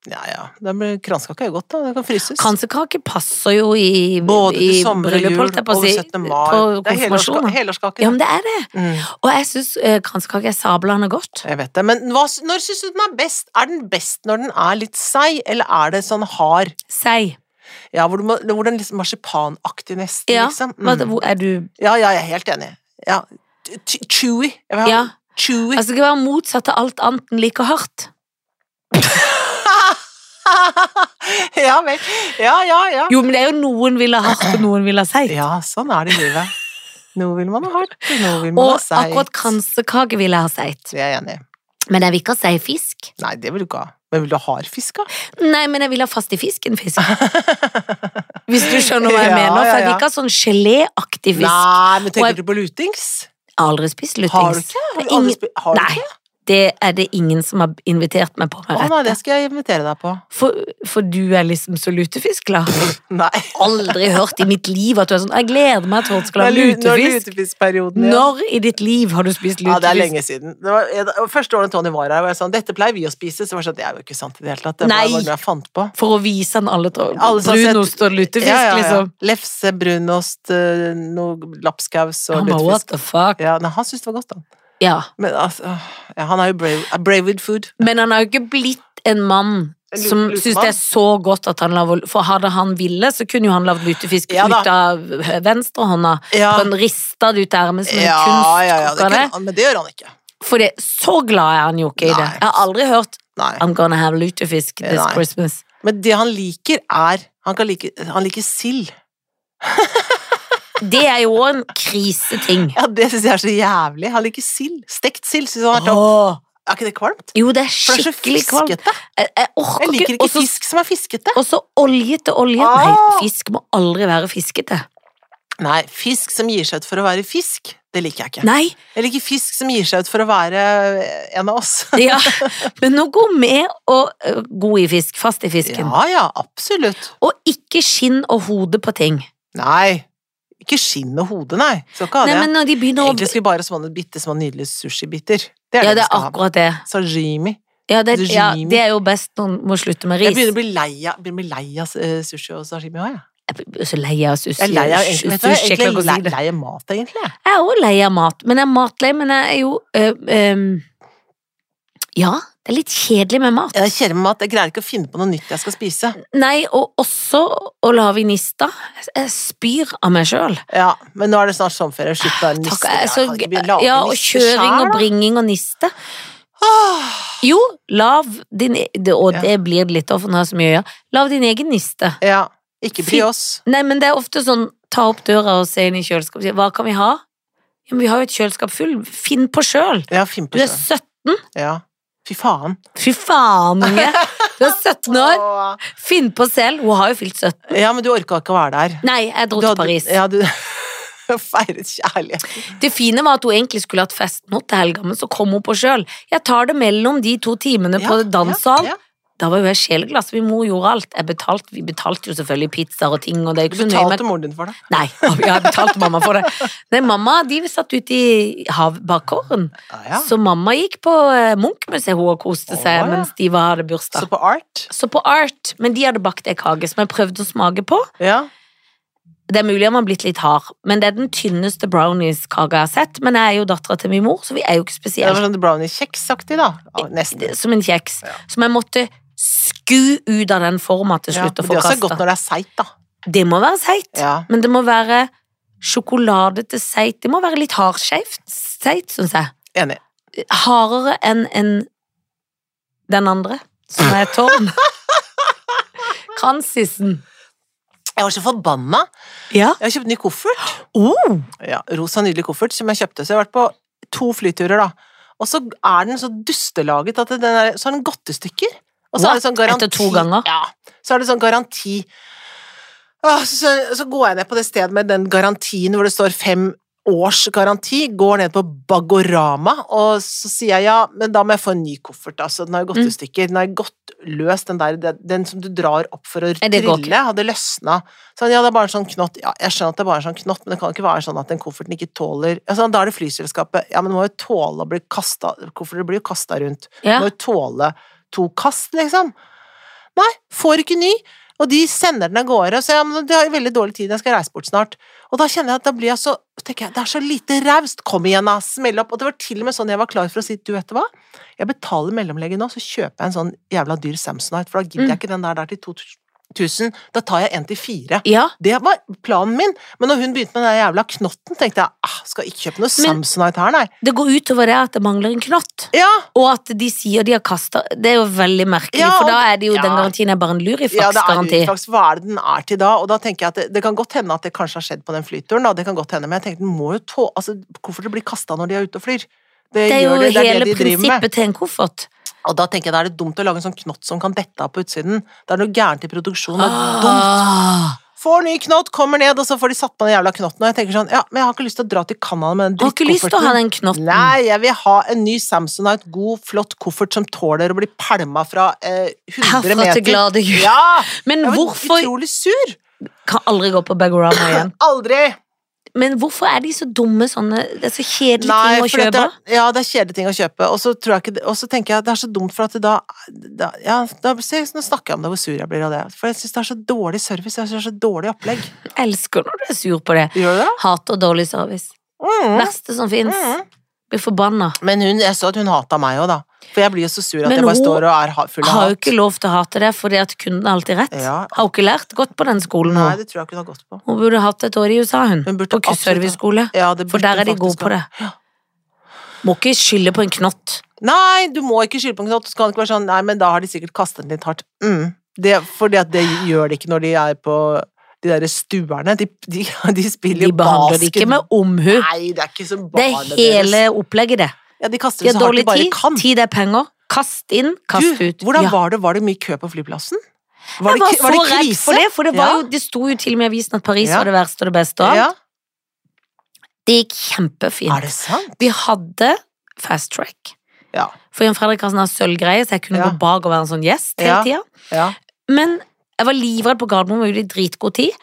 [SPEAKER 2] Ja, ja. Da blir- Kransekake er jo godt, da. Det kan fryses.
[SPEAKER 1] Kransekake passer jo i,
[SPEAKER 2] Både
[SPEAKER 1] i
[SPEAKER 2] til sommer og
[SPEAKER 1] bryllup,
[SPEAKER 2] jul,
[SPEAKER 1] holdt jeg på å
[SPEAKER 2] over
[SPEAKER 1] si.
[SPEAKER 2] 17. mai.
[SPEAKER 1] På
[SPEAKER 2] Det er helårska-
[SPEAKER 1] konfirmasjoner.
[SPEAKER 2] helårskake.
[SPEAKER 1] Ja,
[SPEAKER 2] Ja,
[SPEAKER 1] men det er det.
[SPEAKER 2] mm,
[SPEAKER 1] Og jeg syns kransekake er sablende godt.
[SPEAKER 2] jeg vet det. Men hva, s- når syns du den er best? Er den best når den er litt seig, eller er det sånn hard?
[SPEAKER 1] Sei.
[SPEAKER 2] Ja, hvor, du må, hvor den liksom marsipanaktig nesten,
[SPEAKER 1] Ja,
[SPEAKER 2] liksom.
[SPEAKER 1] Hva,
[SPEAKER 2] Mm.
[SPEAKER 1] hvor er du
[SPEAKER 2] Ja, ja, jeg er helt enig. Ja. T- Chewy. Jeg vil ha
[SPEAKER 1] Ja.
[SPEAKER 2] chewy.
[SPEAKER 1] Altså, det skal være motsatt av alt annet enn like hardt.
[SPEAKER 2] [LAUGHS] ja vel. Ja, ja, ja.
[SPEAKER 1] Jo, men det er jo noen vil ha hardt, og noen vil ha seigt.
[SPEAKER 2] Ja, sånn er det i livet. Noe vil man ha hardt, noe vil man
[SPEAKER 1] Og
[SPEAKER 2] ha seigt.
[SPEAKER 1] akkurat kransekake vil jeg ha seigt.
[SPEAKER 2] Det er jeg enig i.
[SPEAKER 1] Men jeg vil ikke ha seig fisk.
[SPEAKER 2] Nei, det vil du ikke ha. Men vil du ha hard fisk, da?
[SPEAKER 1] Nei, men jeg vil ha fast i fisken
[SPEAKER 2] [LAUGHS]
[SPEAKER 1] fisk. Hvis du skjønner hva jeg
[SPEAKER 2] Ja,
[SPEAKER 1] mener. For
[SPEAKER 2] ja,
[SPEAKER 1] jeg vil
[SPEAKER 2] ja.
[SPEAKER 1] ikke ha sånn geléaktig fisk.
[SPEAKER 2] Nei, men
[SPEAKER 1] Og jeg-
[SPEAKER 2] tenker du på lutings?
[SPEAKER 1] Jeg har aldri spist lutings.
[SPEAKER 2] Har du ikke? Har
[SPEAKER 1] Det
[SPEAKER 2] du
[SPEAKER 1] er
[SPEAKER 2] aldri
[SPEAKER 1] ingen...
[SPEAKER 2] spi- har du
[SPEAKER 1] Nei,
[SPEAKER 2] ikke?
[SPEAKER 1] det er det ingen som har invitert meg på.
[SPEAKER 2] Å
[SPEAKER 1] Med
[SPEAKER 2] nei,
[SPEAKER 1] rette.
[SPEAKER 2] det skal jeg invitere deg på.
[SPEAKER 1] For, for du er liksom så lutefiskglad.
[SPEAKER 2] Nei.
[SPEAKER 1] Aldri hørt i mitt liv at du er sånn 'Jeg gleder meg til at du skal ha
[SPEAKER 2] Det er lu- Når
[SPEAKER 1] lutefisk'.
[SPEAKER 2] lutefiskperioden ja.
[SPEAKER 1] Når i ditt liv har du spist
[SPEAKER 2] Ja, det er
[SPEAKER 1] lutefisk?
[SPEAKER 2] lenge siden. Det var, jeg, det første året Tony var her, var jeg sånn Dette pleier vi å spise. Så var jeg sånn Det er jo ikke sant i det hele tatt. Det
[SPEAKER 1] Nei.
[SPEAKER 2] var bare noe jeg fant på.
[SPEAKER 1] For å vise han alle, to-
[SPEAKER 2] Alle som har sett-
[SPEAKER 1] brunost og lutefisk, liksom.
[SPEAKER 2] Lefse, brunost, eh, noe lapskaus og
[SPEAKER 1] Han bare 'what
[SPEAKER 2] lutefisk.
[SPEAKER 1] the fuck'?
[SPEAKER 2] Ja, nei, han syntes det var godt, han.
[SPEAKER 1] Ja.
[SPEAKER 2] Men altså øh, ja, Han er jo brave, er brave with food.
[SPEAKER 1] Men han har jo ikke blitt en mann
[SPEAKER 2] En
[SPEAKER 1] som
[SPEAKER 2] lute-
[SPEAKER 1] syns det er så godt at han lager For hadde han ville, så kunne jo han lagd lutefisk
[SPEAKER 2] Ja da.
[SPEAKER 1] ut av venstrehånda.
[SPEAKER 2] Ja,
[SPEAKER 1] Han rista det ut av ermet som en
[SPEAKER 2] ja, ja, ja det
[SPEAKER 1] kunstkoker.
[SPEAKER 2] kunne,
[SPEAKER 1] det.
[SPEAKER 2] han, men det gjør han ikke.
[SPEAKER 1] For det, så glad er han jo ikke i det.
[SPEAKER 2] Nei.
[SPEAKER 1] Jeg har aldri hørt
[SPEAKER 2] Nei.
[SPEAKER 1] 'I'm gonna have lutefisk this
[SPEAKER 2] Nei.
[SPEAKER 1] Christmas'.
[SPEAKER 2] Men det han liker, er Han, kan like, han liker sild.
[SPEAKER 1] Det er jo også en kriseting.
[SPEAKER 2] Ja, det syns jeg er så jævlig. Han liker sild. Stekt sild syns han er topp.
[SPEAKER 1] Åh,
[SPEAKER 2] Er ikke det kvalmt?
[SPEAKER 1] Jo, det er
[SPEAKER 2] For det er så
[SPEAKER 1] skikkelig kvalmt.
[SPEAKER 2] fiskete.
[SPEAKER 1] Jeg, jeg orker
[SPEAKER 2] Jeg liker
[SPEAKER 1] og
[SPEAKER 2] ikke
[SPEAKER 1] så-
[SPEAKER 2] fisk som er fiskete.
[SPEAKER 1] Og så oljete olje.
[SPEAKER 2] Ah!
[SPEAKER 1] Nei, fisk må aldri være fiskete.
[SPEAKER 2] Nei, fisk som gir seg ut for å være fisk, det liker jeg ikke.
[SPEAKER 1] Nei,
[SPEAKER 2] Jeg liker fisk som gir seg ut for å være eh, en av oss.
[SPEAKER 1] ja. men nå gå med og ø, god i fisk, fast i fisken.
[SPEAKER 2] Ja, ja, absolutt.
[SPEAKER 1] Og ikke skinn og hode på ting.
[SPEAKER 2] Nei. Ikke skinn og hode, nei. Skal ikke ha
[SPEAKER 1] Nei,
[SPEAKER 2] det.
[SPEAKER 1] men når de begynner å
[SPEAKER 2] Egentlig skulle vi bare ha sånne bitte små nydelige sushibiter. Det er
[SPEAKER 1] Ja, det
[SPEAKER 2] det vi
[SPEAKER 1] er
[SPEAKER 2] skal ha.
[SPEAKER 1] akkurat det.
[SPEAKER 2] Sajimi.
[SPEAKER 1] Ja, det, ja,
[SPEAKER 2] Sashimi.
[SPEAKER 1] det er jo best når man må slutte med
[SPEAKER 2] Jeg begynner
[SPEAKER 1] ris.
[SPEAKER 2] å bli lei av, begynner å bli lei av eh, sushi og sashimi òg, jeg.
[SPEAKER 1] Jeg blir så lei av sushi.
[SPEAKER 2] Jeg er lei av, egentlig- vet du hva,
[SPEAKER 1] sushi, jeg klarer
[SPEAKER 2] egentlig
[SPEAKER 1] ikke å si
[SPEAKER 2] lei,
[SPEAKER 1] det.
[SPEAKER 2] lei av mat, egentlig. jeg.
[SPEAKER 1] Jeg er også lei av mat, men jeg er matlei, men jeg er jo ø, ø, Ja, det er litt kjedelig med mat.
[SPEAKER 2] Jeg kjenner meg at jeg greier ikke å finne på noe nytt jeg skal spise.
[SPEAKER 1] Nei, og også å lage nista. Jeg spyr av meg sjøl.
[SPEAKER 2] Ja, Men nå er det snart sommerferie, og slutt å være niste.
[SPEAKER 1] Ah, Takk, jeg, så,
[SPEAKER 2] Jeg kan ikke begynne å lage
[SPEAKER 1] ja, og
[SPEAKER 2] niste
[SPEAKER 1] kjøring
[SPEAKER 2] selv,
[SPEAKER 1] og Ah!
[SPEAKER 2] da.
[SPEAKER 1] bringing og niste.
[SPEAKER 2] Åh,
[SPEAKER 1] Jo, lav din e- det, Og
[SPEAKER 2] Ja.
[SPEAKER 1] det blir det litt av, for nå har jeg så mye å gjøre. Lav din egen niste.
[SPEAKER 2] Ja. Ikke bry oss.
[SPEAKER 1] Nei, men det er ofte sånn ta opp døra og se inn i kjøleskapet og si hva kan vi ha? Ja, men vi har jo et kjøleskap full. Finn på sjøl.
[SPEAKER 2] Ja, finn på
[SPEAKER 1] Du er
[SPEAKER 2] det.
[SPEAKER 1] 17.
[SPEAKER 2] Ja. Fy faen.
[SPEAKER 1] Fy faen,
[SPEAKER 2] [LAUGHS]
[SPEAKER 1] unge. Du er 17 år.
[SPEAKER 2] Åh.
[SPEAKER 1] Finn på selv. Hun har jo fylt 17.
[SPEAKER 2] Ja, men du orka ikke å være der.
[SPEAKER 1] Nei, jeg dro
[SPEAKER 2] Du
[SPEAKER 1] til
[SPEAKER 2] hadde-
[SPEAKER 1] Paris.
[SPEAKER 2] Ja, du [LAUGHS] feiret kjærlighet.
[SPEAKER 1] Det fine var at hun egentlig skulle hatt fest nå til helga, men så kom hun på sjøl. Jeg tar det mellom de to timene på
[SPEAKER 2] Ja,
[SPEAKER 1] danssal.
[SPEAKER 2] ja, ja.
[SPEAKER 1] Da var jo jeg sjeleglass. Min mor gjorde alt. Jeg betalte, vi betalte jo selvfølgelig pizzaer og ting. Og det er jo
[SPEAKER 2] Du
[SPEAKER 1] ikke så nøye
[SPEAKER 2] betalte
[SPEAKER 1] med
[SPEAKER 2] moren din for det.
[SPEAKER 1] Nei, [LAUGHS] jeg betalte mamma for det. Nei, mamma de satt ute i hav bakgården.
[SPEAKER 2] Ja, ja.
[SPEAKER 1] Så mamma gikk på eh, Munch-museet hun og koste
[SPEAKER 2] Å,
[SPEAKER 1] seg
[SPEAKER 2] ja.
[SPEAKER 1] mens de var, hadde bursdag.
[SPEAKER 2] Så på Art.
[SPEAKER 1] Så på Art, men de hadde bakt ei kake som jeg prøvde å smake på.
[SPEAKER 2] Ja.
[SPEAKER 1] Det er mulig om man har blitt litt hard, men det er den tynneste brownies-kaka jeg har sett. Men jeg er jo dattera til min mor, så vi er jo ikke
[SPEAKER 2] Det
[SPEAKER 1] spesielt
[SPEAKER 2] var sånn brownie-kjeksaktig, da. Ja, Nesten.
[SPEAKER 1] som en kjeks.
[SPEAKER 2] Ja.
[SPEAKER 1] Som jeg måtte sku ut av den forma til
[SPEAKER 2] Ja, men
[SPEAKER 1] slutt
[SPEAKER 2] det
[SPEAKER 1] og få
[SPEAKER 2] er også godt
[SPEAKER 1] kasta.
[SPEAKER 2] når det er seigt, da.
[SPEAKER 1] Det må være seigt,
[SPEAKER 2] Ja.
[SPEAKER 1] men det må være sjokoladete seigt. Det må være litt hardskeivt seigt, syns jeg.
[SPEAKER 2] Enig.
[SPEAKER 1] Hardere enn enn den andre, som er
[SPEAKER 2] [LAUGHS]
[SPEAKER 1] tårn. Kransisen.
[SPEAKER 2] Jeg var så forbanna.
[SPEAKER 1] Ja.
[SPEAKER 2] Jeg har kjøpt ny koffert.
[SPEAKER 1] Oh.
[SPEAKER 2] Ja, Rosa, nydelig koffert som jeg kjøpte. Så jeg har vært på to flyturer, da. Og så er den så dustelaget at den er, så har den gått i stykker. Og så er det sånn
[SPEAKER 1] What?
[SPEAKER 2] garanti.
[SPEAKER 1] Etter to ganger?
[SPEAKER 2] Ja. Så er det sånn garanti. Åh, Så, så, så går jeg ned på det stedet med den garantien hvor det står fem års garanti, går ned på Bagorama, og så sier jeg ja, men da må jeg få en ny koffert, da. Så den har jo gått
[SPEAKER 1] Mm.
[SPEAKER 2] i stykker. Den har gått løs, den der, den- den som du drar opp for å
[SPEAKER 1] det går
[SPEAKER 2] trille, hadde løsna. Så han, ja, det er bare en sånn knott. Ja, jeg skjønner at det er bare en sånn knott, men det kan ikke være sånn at den kofferten ikke tåler altså, Da er det flyselskapet. Ja, men den må jo tåle å bli kasta Kofferter blir jo kasta rundt.
[SPEAKER 1] Ja.
[SPEAKER 2] Den Må jo tåle to kast, liksom. Nei, får ikke ny. Og de sender den av gårde og sier ja, men de har jo veldig dårlig tid, jeg skal reise bort snart. Og da kjenner jeg at da blir jeg så tenker jeg, Det er så lite raust! Kom igjen, da! Smell opp! Og det var til og med sånn jeg var klar for å si du vet du hva, jeg betaler mellomlegget nå, så kjøper jeg en sånn jævla dyr Samsonite, for da gidder
[SPEAKER 1] Mm.
[SPEAKER 2] jeg ikke den der der til 2000. Da tar jeg en til fire.
[SPEAKER 1] Ja,
[SPEAKER 2] Det var planen min, men når hun begynte med den der jævla knotten, tenkte jeg ah, skal ikke kjøpe noe
[SPEAKER 1] Men-
[SPEAKER 2] Samsonite her, nei.
[SPEAKER 1] det går utover det at det mangler en knott.
[SPEAKER 2] Ja,
[SPEAKER 1] Og at de sier de har kasta Det er jo veldig merkelig,
[SPEAKER 2] Ja, og-
[SPEAKER 1] for da er det jo den
[SPEAKER 2] ja.
[SPEAKER 1] garantien er bare en
[SPEAKER 2] Ja, det er
[SPEAKER 1] lurifax-garanti.
[SPEAKER 2] Lurifax. Hva er det den er til da? Og da tenker jeg at det, det kan godt hende at det kanskje har skjedd på den flyturen, da. Det kan godt hende, men jeg tenkte den må jo tå... Altså, kofferter blir kasta når de er ute og flyr. Det,
[SPEAKER 1] det er jo
[SPEAKER 2] gjør det, det er
[SPEAKER 1] hele
[SPEAKER 2] det de driver med.
[SPEAKER 1] prinsippet til en koffert.
[SPEAKER 2] Og da tenker jeg da er det dumt å lage en sånn knott som kan dette av på utsiden. Det er noe gærent i produksjonen. Det er dumt.
[SPEAKER 1] Ah,
[SPEAKER 2] Får ny knott, kommer ned, og så får de satt på den jævla knotten. Og jeg tenker sånn, ja, men jeg har ikke lyst til å dra til Canada med den
[SPEAKER 1] Har ikke lyst til å ha den knotten.
[SPEAKER 2] Nei, jeg vil ha en ny Samsonite, god, flott koffert som tåler å bli pælma fra eh, 100
[SPEAKER 1] Herfra til
[SPEAKER 2] meter.
[SPEAKER 1] glade jul.
[SPEAKER 2] Ja!
[SPEAKER 1] Men
[SPEAKER 2] Jeg var
[SPEAKER 1] hvorfor
[SPEAKER 2] utrolig sur.
[SPEAKER 1] Kan aldri gå på Bagorama
[SPEAKER 2] [LAUGHS]
[SPEAKER 1] igjen.
[SPEAKER 2] Aldri!
[SPEAKER 1] Men hvorfor er de så dumme sånne Det er så kjedelige ting å
[SPEAKER 2] for dette
[SPEAKER 1] kjøpe.
[SPEAKER 2] er- ja, det er kjedelige ting å kjøpe. Og så tror jeg ikke det- og så tenker jeg at det er så dumt, for at det da, da ja, da se, Nå snakker jeg om det, hvor sur jeg blir av det. For jeg syns det er så dårlig service. Jeg synes det er så dårlig opplegg.
[SPEAKER 1] Jeg elsker når du er sur på det.
[SPEAKER 2] Gjør du det?
[SPEAKER 1] Hater dårlig service.
[SPEAKER 2] Mm.
[SPEAKER 1] Verste som fins.
[SPEAKER 2] Mm.
[SPEAKER 1] Blir forbanna.
[SPEAKER 2] Men hun, jeg så at hun hata meg òg, da. For jeg blir jo så sur at
[SPEAKER 1] Men
[SPEAKER 2] jeg bare
[SPEAKER 1] hun
[SPEAKER 2] står og er ha- full av
[SPEAKER 1] Har jo
[SPEAKER 2] hat.
[SPEAKER 1] ikke lov til å hate det, fordi at kunden har alltid rett.
[SPEAKER 2] Ja.
[SPEAKER 1] Har jo ikke lært godt på den skolen nå.
[SPEAKER 2] Nei, det tror jeg ikke hun har gått på.
[SPEAKER 1] Hun burde hatt et år i USA, hun.
[SPEAKER 2] Hun burde
[SPEAKER 1] På
[SPEAKER 2] absolutt ha-
[SPEAKER 1] serviceskole.
[SPEAKER 2] Ja, det
[SPEAKER 1] For
[SPEAKER 2] burde
[SPEAKER 1] der er de
[SPEAKER 2] hun
[SPEAKER 1] gode
[SPEAKER 2] faktisk
[SPEAKER 1] på
[SPEAKER 2] ha.
[SPEAKER 1] det. Må ikke skylde på en knott.
[SPEAKER 2] Nei, du må ikke skylde på en knott. Du skal ikke være sånn Nei, men da har de sikkert kastet den litt hardt. Mm. Det, fordi at det gjør de ikke når de er på de derre stuerne. De, de, [LAUGHS] de spiller
[SPEAKER 1] De behandler det ikke med omhu.
[SPEAKER 2] Nei, det er ikke som
[SPEAKER 1] Det
[SPEAKER 2] barnet
[SPEAKER 1] er hele opplegget, det.
[SPEAKER 2] Ja, de kaster
[SPEAKER 1] De
[SPEAKER 2] det
[SPEAKER 1] har
[SPEAKER 2] så hardt de
[SPEAKER 1] dårlig
[SPEAKER 2] bare
[SPEAKER 1] tid.
[SPEAKER 2] kan.
[SPEAKER 1] Tid er penger. Kast inn, kast ut.
[SPEAKER 2] Du, hvordan
[SPEAKER 1] Ja.
[SPEAKER 2] var det? Var det mye kø på flyplassen?
[SPEAKER 1] Jeg
[SPEAKER 2] Var det,
[SPEAKER 1] var
[SPEAKER 2] k- var
[SPEAKER 1] så
[SPEAKER 2] det
[SPEAKER 1] redd
[SPEAKER 2] krise?
[SPEAKER 1] for det, for det, var
[SPEAKER 2] Ja.
[SPEAKER 1] jo, det sto jo til og med i avisen at Paris
[SPEAKER 2] Ja.
[SPEAKER 1] var det verste og det beste. og alt.
[SPEAKER 2] Ja.
[SPEAKER 1] Det gikk kjempefint.
[SPEAKER 2] Er det sant?
[SPEAKER 1] Vi hadde fast track.
[SPEAKER 2] Ja.
[SPEAKER 1] For Jan Fredrik har sånn her sølvgreie, så jeg kunne
[SPEAKER 2] Ja.
[SPEAKER 1] gå bak og være en sånn gjest hele
[SPEAKER 2] Ja.
[SPEAKER 1] tida.
[SPEAKER 2] Ja.
[SPEAKER 1] Men jeg var livredd på Gardermoen, var ute i dritgod tid.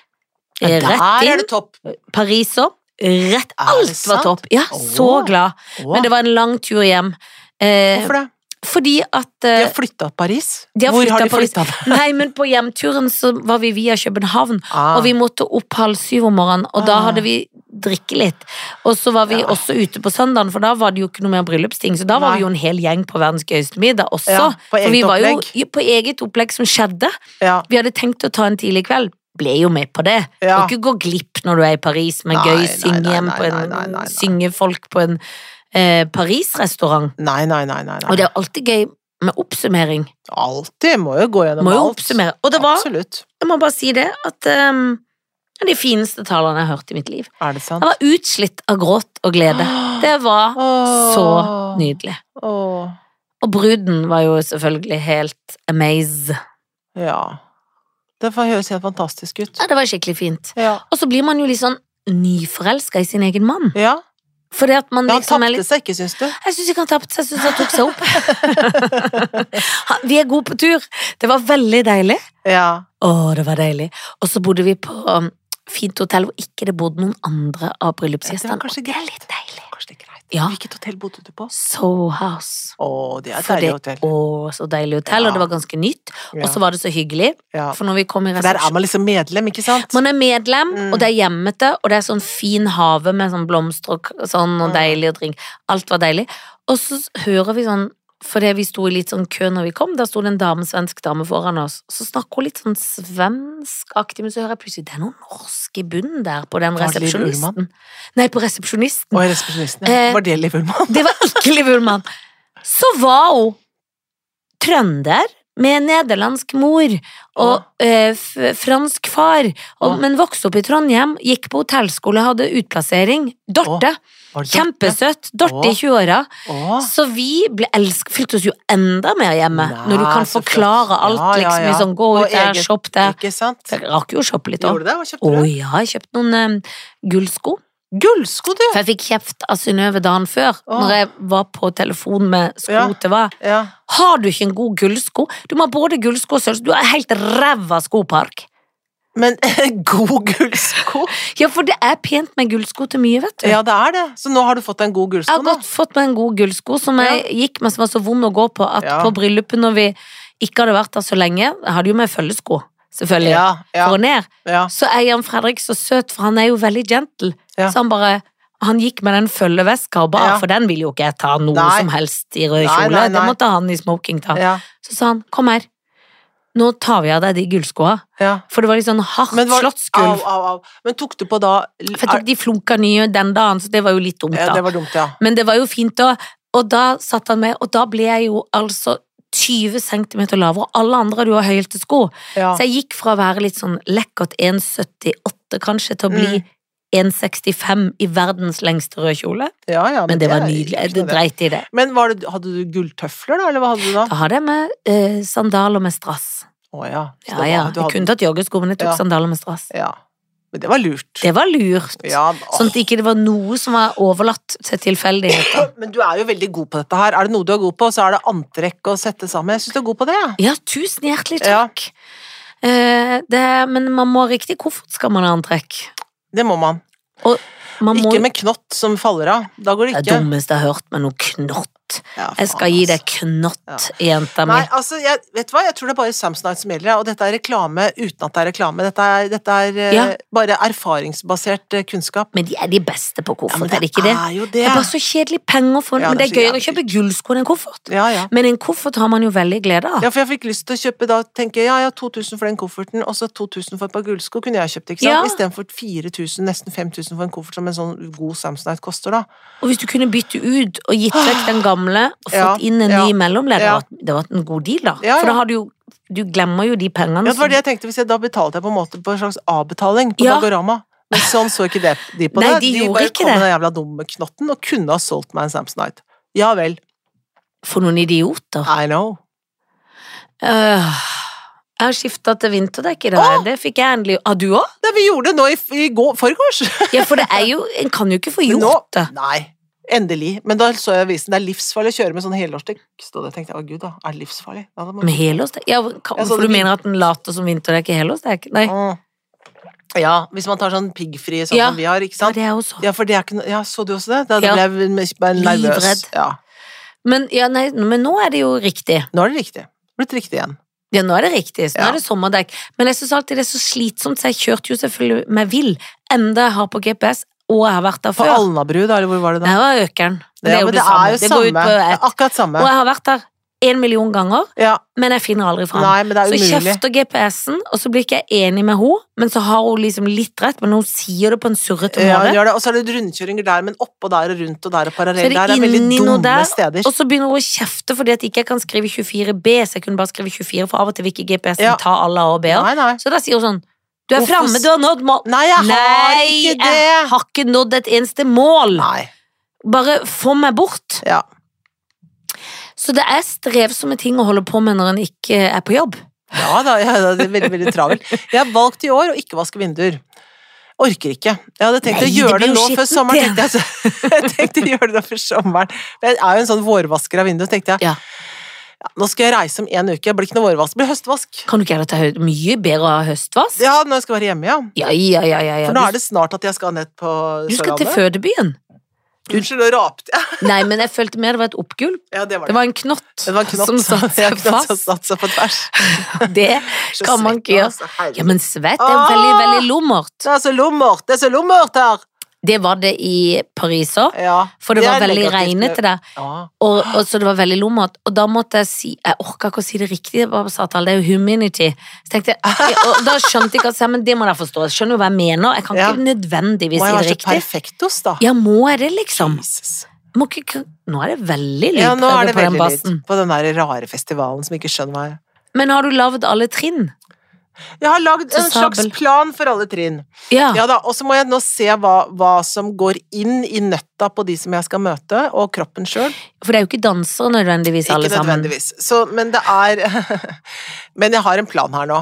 [SPEAKER 2] Ja,
[SPEAKER 1] Rett
[SPEAKER 2] Der er
[SPEAKER 1] inn.
[SPEAKER 2] det topp.
[SPEAKER 1] Paris òg. Rett. Alt var
[SPEAKER 2] sant?
[SPEAKER 1] topp. Ja, så
[SPEAKER 2] Åh.
[SPEAKER 1] glad. Men det var en lang tur hjem. Eh,
[SPEAKER 2] Hvorfor det?
[SPEAKER 1] fordi at
[SPEAKER 2] De
[SPEAKER 1] eh,
[SPEAKER 2] har flytta Paris.
[SPEAKER 1] de har
[SPEAKER 2] Hvor har
[SPEAKER 1] flyttet
[SPEAKER 2] de
[SPEAKER 1] Paris.
[SPEAKER 2] flytta det?
[SPEAKER 1] Nei, men på hjemturen så var vi via København,
[SPEAKER 2] Ah.
[SPEAKER 1] og vi måtte opp halv syv om morgenen, og da
[SPEAKER 2] Ah.
[SPEAKER 1] hadde vi drikke litt. Og så var vi
[SPEAKER 2] Ja.
[SPEAKER 1] også ute på søndagen, for da var det jo ikke noe mer bryllupsting, så da var
[SPEAKER 2] Nei.
[SPEAKER 1] vi jo en hel gjeng på verdens gøyeste middag også.
[SPEAKER 2] ja, på
[SPEAKER 1] for vi
[SPEAKER 2] eget
[SPEAKER 1] var jo
[SPEAKER 2] opplegg.
[SPEAKER 1] på eget opplegg som skjedde.
[SPEAKER 2] Ja,
[SPEAKER 1] Vi hadde tenkt å ta en tidlig kveld. Ble jo med på det. Du
[SPEAKER 2] ja.
[SPEAKER 1] kan ikke gå glipp når du er i Paris med
[SPEAKER 2] Nei,
[SPEAKER 1] gøy
[SPEAKER 2] nei,
[SPEAKER 1] syngehjem
[SPEAKER 2] nei,
[SPEAKER 1] på en
[SPEAKER 2] nei, nei, nei, nei.
[SPEAKER 1] syngefolk på en eh, Paris-restaurant.
[SPEAKER 2] Nei, nei, nei. nei,
[SPEAKER 1] Og
[SPEAKER 2] nei.
[SPEAKER 1] det er alltid gøy med oppsummering.
[SPEAKER 2] Alltid må jo gå gjennom
[SPEAKER 1] Må jo
[SPEAKER 2] alt.
[SPEAKER 1] oppsummere. Og det var,
[SPEAKER 2] Absolutt.
[SPEAKER 1] jeg må bare si det, at ehm, det er de fineste talene jeg har hørt i mitt liv.
[SPEAKER 2] Er det sant?
[SPEAKER 1] Jeg var utslitt av gråt og glede. Det var så nydelig.
[SPEAKER 2] Åh.
[SPEAKER 1] Og bruden var jo selvfølgelig helt amazed.
[SPEAKER 2] Ja. Det får høres helt fantastisk ut.
[SPEAKER 1] Ja, det var skikkelig fint.
[SPEAKER 2] Ja.
[SPEAKER 1] Og så blir man jo litt sånn nyforelska i sin egen mann.
[SPEAKER 2] ja.
[SPEAKER 1] Fordi at man
[SPEAKER 2] Ja, han
[SPEAKER 1] liksom er litt
[SPEAKER 2] tapte seg ikke, syns du?
[SPEAKER 1] Jeg syns ikke han tapte seg, jeg syns han tok seg opp.
[SPEAKER 2] [LAUGHS]
[SPEAKER 1] Han- vi er gode på tur. Det var veldig deilig.
[SPEAKER 2] Ja.
[SPEAKER 1] Å, det var deilig. Og så bodde vi på um, fint hotell hvor ikke det bodde noen andre av bryllupsgjestene.
[SPEAKER 2] kanskje
[SPEAKER 1] Og det er
[SPEAKER 2] greit.
[SPEAKER 1] litt deilig.
[SPEAKER 2] Kanskje det er greit.
[SPEAKER 1] Ja.
[SPEAKER 2] Hvilket hotell bodde du på?
[SPEAKER 1] Soho House.
[SPEAKER 2] Å, det er et
[SPEAKER 1] For
[SPEAKER 2] deilig
[SPEAKER 1] det-
[SPEAKER 2] hotell.
[SPEAKER 1] Å, så deilig hotell, og
[SPEAKER 2] Ja.
[SPEAKER 1] det var ganske nytt. Og
[SPEAKER 2] Ja.
[SPEAKER 1] så var det så hyggelig,
[SPEAKER 2] ja.
[SPEAKER 1] for når vi kom i
[SPEAKER 2] For der er
[SPEAKER 1] resepsjonen
[SPEAKER 2] man liksom medlem, ikke sant?
[SPEAKER 1] man er medlem,
[SPEAKER 2] Mm.
[SPEAKER 1] og det er hjemmete, og det er sånn fin have med sånn blomster og k- sånn, og
[SPEAKER 2] Mm.
[SPEAKER 1] deilig og drink. Alt var deilig. Og så s- hører vi sånn, fordi vi sto i litt sånn kø når vi kom, der sto det en dame, svensk dame foran oss. Så snakker hun litt sånn svenskaktig, men så hører jeg plutselig, det er noen norsk i bunnen der på den
[SPEAKER 2] Var det Liv
[SPEAKER 1] resepsjonisten. Nei, på resepsjonisten.
[SPEAKER 2] Og resepsjonisten, ja.
[SPEAKER 1] Eh,
[SPEAKER 2] Var det Liv Ullmann?
[SPEAKER 1] Det var ikke Liv Ullmann. Så var hun trønder med nederlandsk mor og eh, f fransk far, og,
[SPEAKER 2] Åh.
[SPEAKER 1] men vokste opp i Trondheim, gikk på hotellskole, hadde utplassering. Dorte.
[SPEAKER 2] Var det
[SPEAKER 1] Kjempesøtt. Dorte i
[SPEAKER 2] Åh.
[SPEAKER 1] 20-åra.
[SPEAKER 2] Dorte? Åh.
[SPEAKER 1] Så vi ble elsk, følte oss jo enda mer hjemme,
[SPEAKER 2] Nei,
[SPEAKER 1] når du kan
[SPEAKER 2] så flott.
[SPEAKER 1] forklare alt,
[SPEAKER 2] Ja, ja,
[SPEAKER 1] liksom. i
[SPEAKER 2] ja.
[SPEAKER 1] Sånn, gå
[SPEAKER 2] Og
[SPEAKER 1] ut der,
[SPEAKER 2] eget-
[SPEAKER 1] shopp der.
[SPEAKER 2] Ikke sant?
[SPEAKER 1] Jeg rakk jo å shoppe litt òg.
[SPEAKER 2] Gjorde du det? Hva
[SPEAKER 1] Å
[SPEAKER 2] kjøpte du?
[SPEAKER 1] ja, jeg kjøpte noen eh, gullsko.
[SPEAKER 2] Gullsko, du!
[SPEAKER 1] For jeg fikk kjeft av Synnøve dagen før,
[SPEAKER 2] Åh.
[SPEAKER 1] når jeg var på telefon med sko
[SPEAKER 2] Ja.
[SPEAKER 1] til hva.
[SPEAKER 2] Ja.
[SPEAKER 1] Har du ikke en god gullsko? Du må ha både gullsko og sølvsko. Du har helt ræva skopark.
[SPEAKER 2] Men [LAUGHS] god gullsko!
[SPEAKER 1] Ja, for det er pent med gullsko til mye, vet du.
[SPEAKER 2] Ja, sånn, det er det. Så nå har du fått deg en god
[SPEAKER 1] Jeg
[SPEAKER 2] gullsko,
[SPEAKER 1] har
[SPEAKER 2] nå?
[SPEAKER 1] godt fått meg en god gullsko som jeg gikk med som var så vond å gå på at
[SPEAKER 2] Ja.
[SPEAKER 1] på bryllupet når vi ikke hadde vært der så lenge Jeg hadde jo med følgesko, selvfølgelig,
[SPEAKER 2] Ja, ja,
[SPEAKER 1] for og ned.
[SPEAKER 2] ja.
[SPEAKER 1] Så er Jan Fredrik så søt, for han er jo veldig gentle.
[SPEAKER 2] Ja.
[SPEAKER 1] Så han bare han gikk med den følgeveska og bare,
[SPEAKER 2] Ja.
[SPEAKER 1] for den vil jo ikke jeg ta noe
[SPEAKER 2] Nei.
[SPEAKER 1] som helst i rød
[SPEAKER 2] Nei,
[SPEAKER 1] kjole.
[SPEAKER 2] nei,
[SPEAKER 1] Det
[SPEAKER 2] nei.
[SPEAKER 1] måtte han i smoking ta.
[SPEAKER 2] ja,
[SPEAKER 1] Så sa han, kom her, nå tar vi av deg de gullskoa.
[SPEAKER 2] ja.
[SPEAKER 1] For det var litt sånn hardt
[SPEAKER 2] Men var- Au,
[SPEAKER 1] slottsgulv.
[SPEAKER 2] au, au. Men tok du på da
[SPEAKER 1] For jeg tror ikke de flunka nye den dagen, så det var jo litt dumt,
[SPEAKER 2] ja,
[SPEAKER 1] da.
[SPEAKER 2] Det var dumt, ja.
[SPEAKER 1] Men det var jo fint, da. Og da satt han med, og da ble jeg jo altså 20 cm lavere, og alle andre hadde jo høyhælte sko.
[SPEAKER 2] ja.
[SPEAKER 1] Så jeg gikk fra å være litt sånn lekkert 1,78 kanskje, til å bli
[SPEAKER 2] Mm.
[SPEAKER 1] 1,65 i verdens lengste røde kjole.
[SPEAKER 2] Ja, ja,
[SPEAKER 1] Men det var
[SPEAKER 2] er
[SPEAKER 1] nydelig.
[SPEAKER 2] ikke
[SPEAKER 1] Jeg
[SPEAKER 2] noe
[SPEAKER 1] dreit i det.
[SPEAKER 2] Men var det, hadde du gulltøfler, da? Eller hva hadde du da?
[SPEAKER 1] Da hadde jeg med eh, sandaler med strass.
[SPEAKER 2] Å ja.
[SPEAKER 1] Ja,
[SPEAKER 2] Så det
[SPEAKER 1] ja.
[SPEAKER 2] var- du
[SPEAKER 1] Jeg
[SPEAKER 2] hadde-
[SPEAKER 1] kunne tatt joggesko, men jeg tok
[SPEAKER 2] Ja.
[SPEAKER 1] sandaler med strass.
[SPEAKER 2] ja. Men det var lurt.
[SPEAKER 1] Det var lurt.
[SPEAKER 2] Ja,
[SPEAKER 1] Sånn at ikke det var noe som var overlatt til tilfeldigheter.
[SPEAKER 2] Men du er jo veldig god på dette her. Er det noe du er god på, så er det antrekk og sette sammen. Jeg syns du er god på det. jeg.
[SPEAKER 1] Ja, tusen hjertelig takk. Eh, det, men man må ha riktig koffert skal man ha antrekk.
[SPEAKER 2] Det må man.
[SPEAKER 1] Man må,
[SPEAKER 2] Ikke med knott som faller av. Da går
[SPEAKER 1] det
[SPEAKER 2] det
[SPEAKER 1] er
[SPEAKER 2] ikke.
[SPEAKER 1] dummeste jeg har hørt, men noe knott.
[SPEAKER 2] Ja, faen,
[SPEAKER 1] Jeg skal gi
[SPEAKER 2] altså.
[SPEAKER 1] deg knott, jenta mi.
[SPEAKER 2] Nei, altså, jeg, vet du hva? Jeg tror det er bare Samsonite som gjelder, ja. og dette er reklame uten at det er reklame. Dette er, dette er eh,
[SPEAKER 1] Ja.
[SPEAKER 2] bare erfaringsbasert eh, kunnskap.
[SPEAKER 1] Men de er de beste på
[SPEAKER 2] Ja,
[SPEAKER 1] koffert,
[SPEAKER 2] men
[SPEAKER 1] er det ikke det?
[SPEAKER 2] er jo det.
[SPEAKER 1] Det er bare så kjedelig penger for
[SPEAKER 2] Ja,
[SPEAKER 1] Men det er
[SPEAKER 2] det er så
[SPEAKER 1] gøyere å
[SPEAKER 2] jævlig
[SPEAKER 1] kjøpe gullsko enn en koffert.
[SPEAKER 2] Ja, ja.
[SPEAKER 1] Men en koffert har man jo veldig glede av.
[SPEAKER 2] Ja, for jeg fikk lyst til å kjøpe da, tenker jeg, ja, ja, 2000 for den kofferten, og så 2000 for et par gullsko kunne jeg kjøpt, ikke
[SPEAKER 1] Ja.
[SPEAKER 2] sant? Istedenfor 4000, nesten 5000 for en koffert som en sånn god Samsonite koster, da.
[SPEAKER 1] Og hvis du kunne bytte ut og gitt vekk den gamle og fått
[SPEAKER 2] Ja,
[SPEAKER 1] inn en
[SPEAKER 2] ja,
[SPEAKER 1] ny mellomleder,
[SPEAKER 2] ja.
[SPEAKER 1] at- det var en god deal, da.
[SPEAKER 2] Ja,
[SPEAKER 1] For da
[SPEAKER 2] ja.
[SPEAKER 1] har du jo Du glemmer jo de pengene
[SPEAKER 2] Ja, det var det jeg tenkte, hvis jeg da betalte jeg på en måte på en slags avbetaling på
[SPEAKER 1] Ja.
[SPEAKER 2] Dagorama. Men sånn så ikke det, de på
[SPEAKER 1] Nei,
[SPEAKER 2] det.
[SPEAKER 1] de gjorde
[SPEAKER 2] bare
[SPEAKER 1] ikke
[SPEAKER 2] kom
[SPEAKER 1] det.
[SPEAKER 2] med den jævla dumme knotten og kunne ha solgt meg en Samsonite. Ja vel.
[SPEAKER 1] For noen idioter.
[SPEAKER 2] [LAUGHS] I know.
[SPEAKER 1] Øh, jeg har skifta til vinterdekk i dag. Det fikk jeg endelig Har du òg?
[SPEAKER 2] Det vi gjorde det nå i, i går, forgårs. [LAUGHS]
[SPEAKER 1] Ja, for det er jo En kan jo ikke få
[SPEAKER 2] Men nå-
[SPEAKER 1] gjort det.
[SPEAKER 2] Nei. Endelig. Men da så jeg avisen. Det er livsfarlig å kjøre med sånn helårsdekk. Stod det. tenkte jeg, å gud da, er det livsfarlig? Ja, det må...
[SPEAKER 1] Med helårsdekk? Ja, kan,
[SPEAKER 2] Jeg så
[SPEAKER 1] for du
[SPEAKER 2] det fint.
[SPEAKER 1] mener at den later som vinterdekk i helårsdekk? Nei.
[SPEAKER 2] Mm. Ja, hvis man tar sånn piggfri sånn
[SPEAKER 1] Ja.
[SPEAKER 2] som vi har, ikke
[SPEAKER 1] Ja,
[SPEAKER 2] sant?
[SPEAKER 1] det er jo så.
[SPEAKER 2] Ja, for det er ikke noe Ja, så du også det? Da
[SPEAKER 1] Ja.
[SPEAKER 2] ble jeg m- bare nervøs.
[SPEAKER 1] Livredd.
[SPEAKER 2] Ja.
[SPEAKER 1] Men, ja, nei, men nå er det jo riktig.
[SPEAKER 2] Nå er det riktig. Blitt riktig igjen.
[SPEAKER 1] Ja, nå er det riktig. Så nå
[SPEAKER 2] Ja.
[SPEAKER 1] er det sommerdekk. Men jeg syns alltid det er så slitsomt, så jeg kjørte jo selvfølgelig meg vill. Enda jeg har på GPS, og jeg har vært der
[SPEAKER 2] På
[SPEAKER 1] før.
[SPEAKER 2] Alnabru, da, eller hvor var det da?
[SPEAKER 1] Det var økeren. Men
[SPEAKER 2] Ja, men
[SPEAKER 1] det er jo det samme. Det går ut på
[SPEAKER 2] Det er
[SPEAKER 1] ett.
[SPEAKER 2] Akkurat samme.
[SPEAKER 1] Og jeg har vært der en million ganger,
[SPEAKER 2] Ja.
[SPEAKER 1] men jeg finner aldri fram.
[SPEAKER 2] Nei, men det
[SPEAKER 1] Så
[SPEAKER 2] er
[SPEAKER 1] jeg
[SPEAKER 2] umulig.
[SPEAKER 1] kjefter GPS-en, og så blir ikke jeg enig med henne, men så har hun liksom litt rett, men hun sier det på en surrete
[SPEAKER 2] Ja,
[SPEAKER 1] måte.
[SPEAKER 2] gjør det. Og så er det rundkjøringer der, men oppå der og rundt og der og
[SPEAKER 1] Så er
[SPEAKER 2] parallell
[SPEAKER 1] det
[SPEAKER 2] der. Det er veldig
[SPEAKER 1] inni noe
[SPEAKER 2] dumme
[SPEAKER 1] der,
[SPEAKER 2] steder.
[SPEAKER 1] Og så begynner hun å kjefte fordi at ikke jeg kan skrive 24B, så jeg kunne bare skrive 24, for av og til vil ikke GPS-en
[SPEAKER 2] Ja.
[SPEAKER 1] ta alle A og B-er.
[SPEAKER 2] Nei, nei.
[SPEAKER 1] Så da sier hun sånn Du er
[SPEAKER 2] Hvorfor
[SPEAKER 1] framme,
[SPEAKER 2] s-
[SPEAKER 1] du har nådd mål.
[SPEAKER 2] Nei, jeg har
[SPEAKER 1] Nei,
[SPEAKER 2] ikke
[SPEAKER 1] jeg
[SPEAKER 2] det!
[SPEAKER 1] har ikke nådd et eneste mål.
[SPEAKER 2] Nei.
[SPEAKER 1] Bare få meg bort.
[SPEAKER 2] Ja.
[SPEAKER 1] Så det er strevsomme ting å holde på med når en ikke er på jobb.
[SPEAKER 2] Ja da, ja, da, det er veldig,
[SPEAKER 1] [LAUGHS]
[SPEAKER 2] veldig travel. Jeg har valgt i år å ikke vaske vinduer. Orker ikke. Jeg hadde tenkt
[SPEAKER 1] Nei,
[SPEAKER 2] å
[SPEAKER 1] det
[SPEAKER 2] gjøre
[SPEAKER 1] blir
[SPEAKER 2] det,
[SPEAKER 1] jo
[SPEAKER 2] nå
[SPEAKER 1] skittent
[SPEAKER 2] før sommeren.
[SPEAKER 1] igjen.
[SPEAKER 2] Tenkte jeg, så, jeg [LAUGHS] tenkte å gjøre det nå før sommeren. Men jeg er jo en sånn vårvasker av vinduer, så tenkte jeg.
[SPEAKER 1] Ja.
[SPEAKER 2] Ja, nå skal jeg reise om en uke. Det blir ikke noe vårvask, det blir høstvask.
[SPEAKER 1] Kan du ikke heller ta hø- mye bedre å ha høstvask?
[SPEAKER 2] Ja, når jeg skal være hjemme, ja.
[SPEAKER 1] Ja, ja, ja, ja, ja.
[SPEAKER 2] For nå er det snart at jeg skal ned på
[SPEAKER 1] Du, du skal til
[SPEAKER 2] Sørlandet.
[SPEAKER 1] fødebyen.
[SPEAKER 2] Unnskyld, nå rapte jeg.
[SPEAKER 1] Nei, men jeg følte mer det var et oppgulp.
[SPEAKER 2] Ja, det var
[SPEAKER 1] Det
[SPEAKER 2] det.
[SPEAKER 1] var en knott,
[SPEAKER 2] Det var en knott
[SPEAKER 1] som satte
[SPEAKER 2] [LAUGHS] ja,
[SPEAKER 1] seg
[SPEAKER 2] knott som
[SPEAKER 1] fast.
[SPEAKER 2] satte seg på tvers.
[SPEAKER 1] Det
[SPEAKER 2] Så
[SPEAKER 1] kan man
[SPEAKER 2] svett,
[SPEAKER 1] ikke gjøre.
[SPEAKER 2] altså, herregud.
[SPEAKER 1] Ja, men svett er veldig,
[SPEAKER 2] Ah!
[SPEAKER 1] veldig lummert.
[SPEAKER 2] Det er så lummert! Det er så lummert her!
[SPEAKER 1] Det var det i Paris òg,
[SPEAKER 2] Ja.
[SPEAKER 1] for det var
[SPEAKER 2] er
[SPEAKER 1] veldig
[SPEAKER 2] negativt, men-
[SPEAKER 1] regnete der.
[SPEAKER 2] Ja.
[SPEAKER 1] Og, og Så det var veldig lummert. Og da måtte jeg si Jeg orka ikke å si det riktig, jeg bare sa til alle, det er jo humanity. Så tenkte jeg, ja, og Da skjønte jeg ikke at ja, men det må dere forstå. Jeg skjønner jo hva jeg mener. Jeg kan
[SPEAKER 2] Ja.
[SPEAKER 1] ikke nødvendigvis si
[SPEAKER 2] Må jeg
[SPEAKER 1] det
[SPEAKER 2] være så
[SPEAKER 1] riktig.
[SPEAKER 2] perfektos, da?
[SPEAKER 1] Ja, må jeg det, liksom?
[SPEAKER 2] Jesus.
[SPEAKER 1] Må ikke, nå er det veldig
[SPEAKER 2] Ja, nå
[SPEAKER 1] lydprøve
[SPEAKER 2] er det
[SPEAKER 1] på den
[SPEAKER 2] veldig lyd
[SPEAKER 1] bassen.
[SPEAKER 2] på den der rare festivalen som ikke skjønner meg.
[SPEAKER 1] Men har du lagd alle trinn?
[SPEAKER 2] Jeg har lagd
[SPEAKER 1] Til
[SPEAKER 2] en slags
[SPEAKER 1] sabel.
[SPEAKER 2] plan for alle trinn.
[SPEAKER 1] Ja.
[SPEAKER 2] Ja da, Og så må jeg nå se hva, hva som går inn i nøtta på de som jeg skal møte, og kroppen sjøl.
[SPEAKER 1] For det er jo ikke dansere nødvendigvis, alle
[SPEAKER 2] Ikke
[SPEAKER 1] sammen.
[SPEAKER 2] nødvendigvis. Så, men det er [LAUGHS] Men jeg har en plan her nå.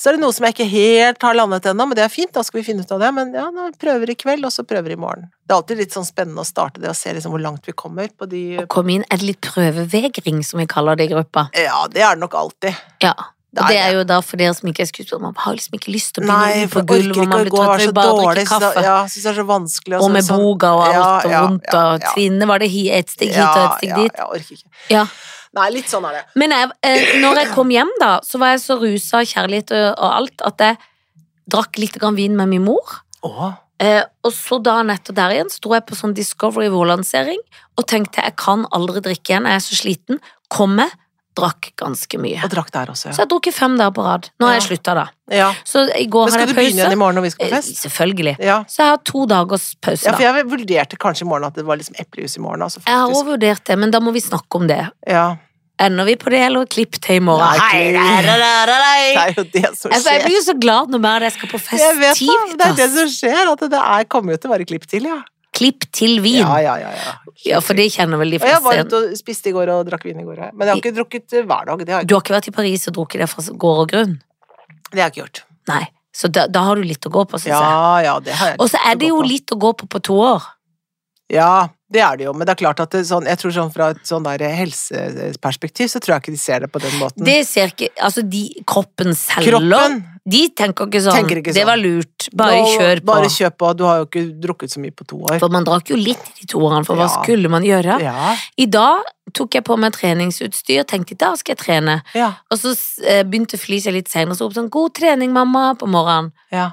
[SPEAKER 2] Så er det noe som jeg ikke helt har landet ennå, men det er fint. da skal vi finne ut av det. Men ja, nå prøver i kveld, og så prøver i morgen. Det er alltid litt sånn spennende å starte det og se liksom hvor langt vi kommer på de
[SPEAKER 1] Å komme inn er det litt prøvevegring, som vi kaller det i gruppa.
[SPEAKER 2] Ja, det er det nok alltid.
[SPEAKER 1] Ja.
[SPEAKER 2] Det
[SPEAKER 1] Og
[SPEAKER 2] er
[SPEAKER 1] det er
[SPEAKER 2] det.
[SPEAKER 1] jo da for dere som ikke er skuespillere, man har liksom ikke lyst til å
[SPEAKER 2] Nei,
[SPEAKER 1] begynne
[SPEAKER 2] for
[SPEAKER 1] på
[SPEAKER 2] jeg
[SPEAKER 1] gulvet,
[SPEAKER 2] orker
[SPEAKER 1] og man
[SPEAKER 2] ikke å
[SPEAKER 1] blir trøtt, så
[SPEAKER 2] gå, er så
[SPEAKER 1] vi bare
[SPEAKER 2] dårlig.
[SPEAKER 1] drikker
[SPEAKER 2] så da-
[SPEAKER 1] kaffe.
[SPEAKER 2] Ja, synes det er så vanskelig.
[SPEAKER 1] Og
[SPEAKER 2] sånn-
[SPEAKER 1] med
[SPEAKER 2] sånn-
[SPEAKER 1] boga og
[SPEAKER 2] Ja,
[SPEAKER 1] alt og
[SPEAKER 2] ja,
[SPEAKER 1] rundt,
[SPEAKER 2] ja,
[SPEAKER 1] og
[SPEAKER 2] ja.
[SPEAKER 1] trinne var det hi, et steg hit og et steg
[SPEAKER 2] Ja,
[SPEAKER 1] dit.
[SPEAKER 2] ja, jeg orker ikke.
[SPEAKER 1] Ja.
[SPEAKER 2] Nei, litt sånn er det.
[SPEAKER 1] Men jeg, eh, når jeg kom hjem, da, så var jeg så rusa av kjærlighet og, og alt at jeg drakk litt grann vin med min mor.
[SPEAKER 2] Åh,
[SPEAKER 1] Eh, og så dagen etter der igjen sto jeg på sånn Discovery War-lansering og tenkte jeg kan aldri drikke igjen, jeg er så sliten. Kom med, drakk ganske mye.
[SPEAKER 2] og drakk der også,
[SPEAKER 1] Så
[SPEAKER 2] ja.
[SPEAKER 1] jeg har drukket fem dager på rad. Nå har jeg
[SPEAKER 2] Ja.
[SPEAKER 1] slutta, da.
[SPEAKER 2] ja.
[SPEAKER 1] Så i går
[SPEAKER 2] Men skal
[SPEAKER 1] hadde
[SPEAKER 2] du
[SPEAKER 1] jeg
[SPEAKER 2] begynne igjen i
[SPEAKER 1] pause.
[SPEAKER 2] morgen når vi skal på
[SPEAKER 1] Eh,
[SPEAKER 2] fest?
[SPEAKER 1] Selvfølgelig.
[SPEAKER 2] Ja.
[SPEAKER 1] Så jeg har to dagers pause,
[SPEAKER 2] ja, for
[SPEAKER 1] da.
[SPEAKER 2] jeg vurderte kanskje i morgen at det var liksom eplejus i morgen, altså
[SPEAKER 1] Jeg har
[SPEAKER 2] faktisk.
[SPEAKER 1] også vurdert det, men da må vi snakke om det.
[SPEAKER 2] Ja,
[SPEAKER 1] Ender vi på det, eller klipp til i morgen?
[SPEAKER 2] Nei,
[SPEAKER 1] Hei,
[SPEAKER 2] klipp.
[SPEAKER 1] da, da, da, da,
[SPEAKER 2] det
[SPEAKER 1] da.
[SPEAKER 2] er jo det som
[SPEAKER 1] Altså, jeg
[SPEAKER 2] skjer.
[SPEAKER 1] blir jo så glad når bare jeg skal på
[SPEAKER 2] Jeg vet da, men det er det
[SPEAKER 1] festivitas.
[SPEAKER 2] som skjer, at det er, kommer jo til å være klipp til, ja.
[SPEAKER 1] Klipp til vin.
[SPEAKER 2] Ja, ja, ja, ja.
[SPEAKER 1] Ja, for det kjenner vel de
[SPEAKER 2] Og jeg var
[SPEAKER 1] fleste.
[SPEAKER 2] ute og spiste i går og drakk vin i går, ja. men jeg har ikke drukket eh, hver dag, det har jeg,
[SPEAKER 1] Du har ikke vært i Paris og drukket det fra gård og grunn?
[SPEAKER 2] det har jeg ikke gjort.
[SPEAKER 1] Nei. Så da, da har du litt å gå på, syns jeg.
[SPEAKER 2] Ja, ja, det har jeg.
[SPEAKER 1] Og så er det
[SPEAKER 2] å gå
[SPEAKER 1] jo
[SPEAKER 2] på.
[SPEAKER 1] litt å gå på på to år.
[SPEAKER 2] Ja, det er det jo, men det er klart at det, sånn, jeg tror sånn fra et sånn der helseperspektiv, så tror jeg ikke de ser det på den måten.
[SPEAKER 1] Det ser ikke Altså, de kroppen selger.
[SPEAKER 2] Mm. Kroppen
[SPEAKER 1] De tenker ikke sånn.
[SPEAKER 2] Tenker ikke
[SPEAKER 1] Det
[SPEAKER 2] sånn.
[SPEAKER 1] var lurt. Bare
[SPEAKER 2] nå-
[SPEAKER 1] kjør på.
[SPEAKER 2] Bare kjør på, du har jo ikke drukket så mye på to år.
[SPEAKER 1] For man drakk jo litt i de to årene, for hva
[SPEAKER 2] Ja.
[SPEAKER 1] skulle man gjøre?
[SPEAKER 2] Ja,
[SPEAKER 1] I dag tok jeg på meg treningsutstyr, tenkte da skal jeg trene.
[SPEAKER 2] ja,
[SPEAKER 1] Og så eh, begynte Felicia litt senere, så ropte sånn 'god trening, mamma' på morgenen.
[SPEAKER 2] ja.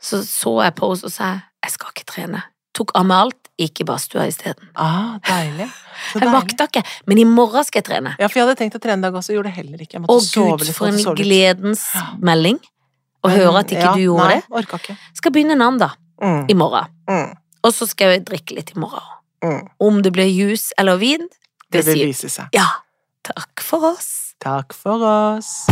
[SPEAKER 1] Så så jeg på henne og sa 'jeg skal ikke trene'. Tok av meg alt, gikk i badstua isteden.
[SPEAKER 2] Ah, deilig. Så
[SPEAKER 1] Jeg
[SPEAKER 2] deilig.
[SPEAKER 1] makta ikke, men i morgen skal jeg trene.
[SPEAKER 2] Ja, for jeg hadde tenkt å trene i dag også, gjorde det heller ikke. Jeg måtte
[SPEAKER 1] Å
[SPEAKER 2] sove
[SPEAKER 1] gud,
[SPEAKER 2] litt,
[SPEAKER 1] for en
[SPEAKER 2] måtte sove litt.
[SPEAKER 1] gledens
[SPEAKER 2] Ja.
[SPEAKER 1] melding å
[SPEAKER 2] Men,
[SPEAKER 1] høre at ikke
[SPEAKER 2] ja,
[SPEAKER 1] du gjorde
[SPEAKER 2] nei,
[SPEAKER 1] det.
[SPEAKER 2] Nei, orka ikke.
[SPEAKER 1] Skal begynne en annen, da.
[SPEAKER 2] Mm,
[SPEAKER 1] I morgen.
[SPEAKER 2] mm,
[SPEAKER 1] Og så skal jeg drikke litt i morgen òg.
[SPEAKER 2] mm.
[SPEAKER 1] Om det blir juice eller vin, det
[SPEAKER 2] Det vil
[SPEAKER 1] sier
[SPEAKER 2] vise seg.
[SPEAKER 1] Ja. Takk for oss.
[SPEAKER 2] Takk for oss.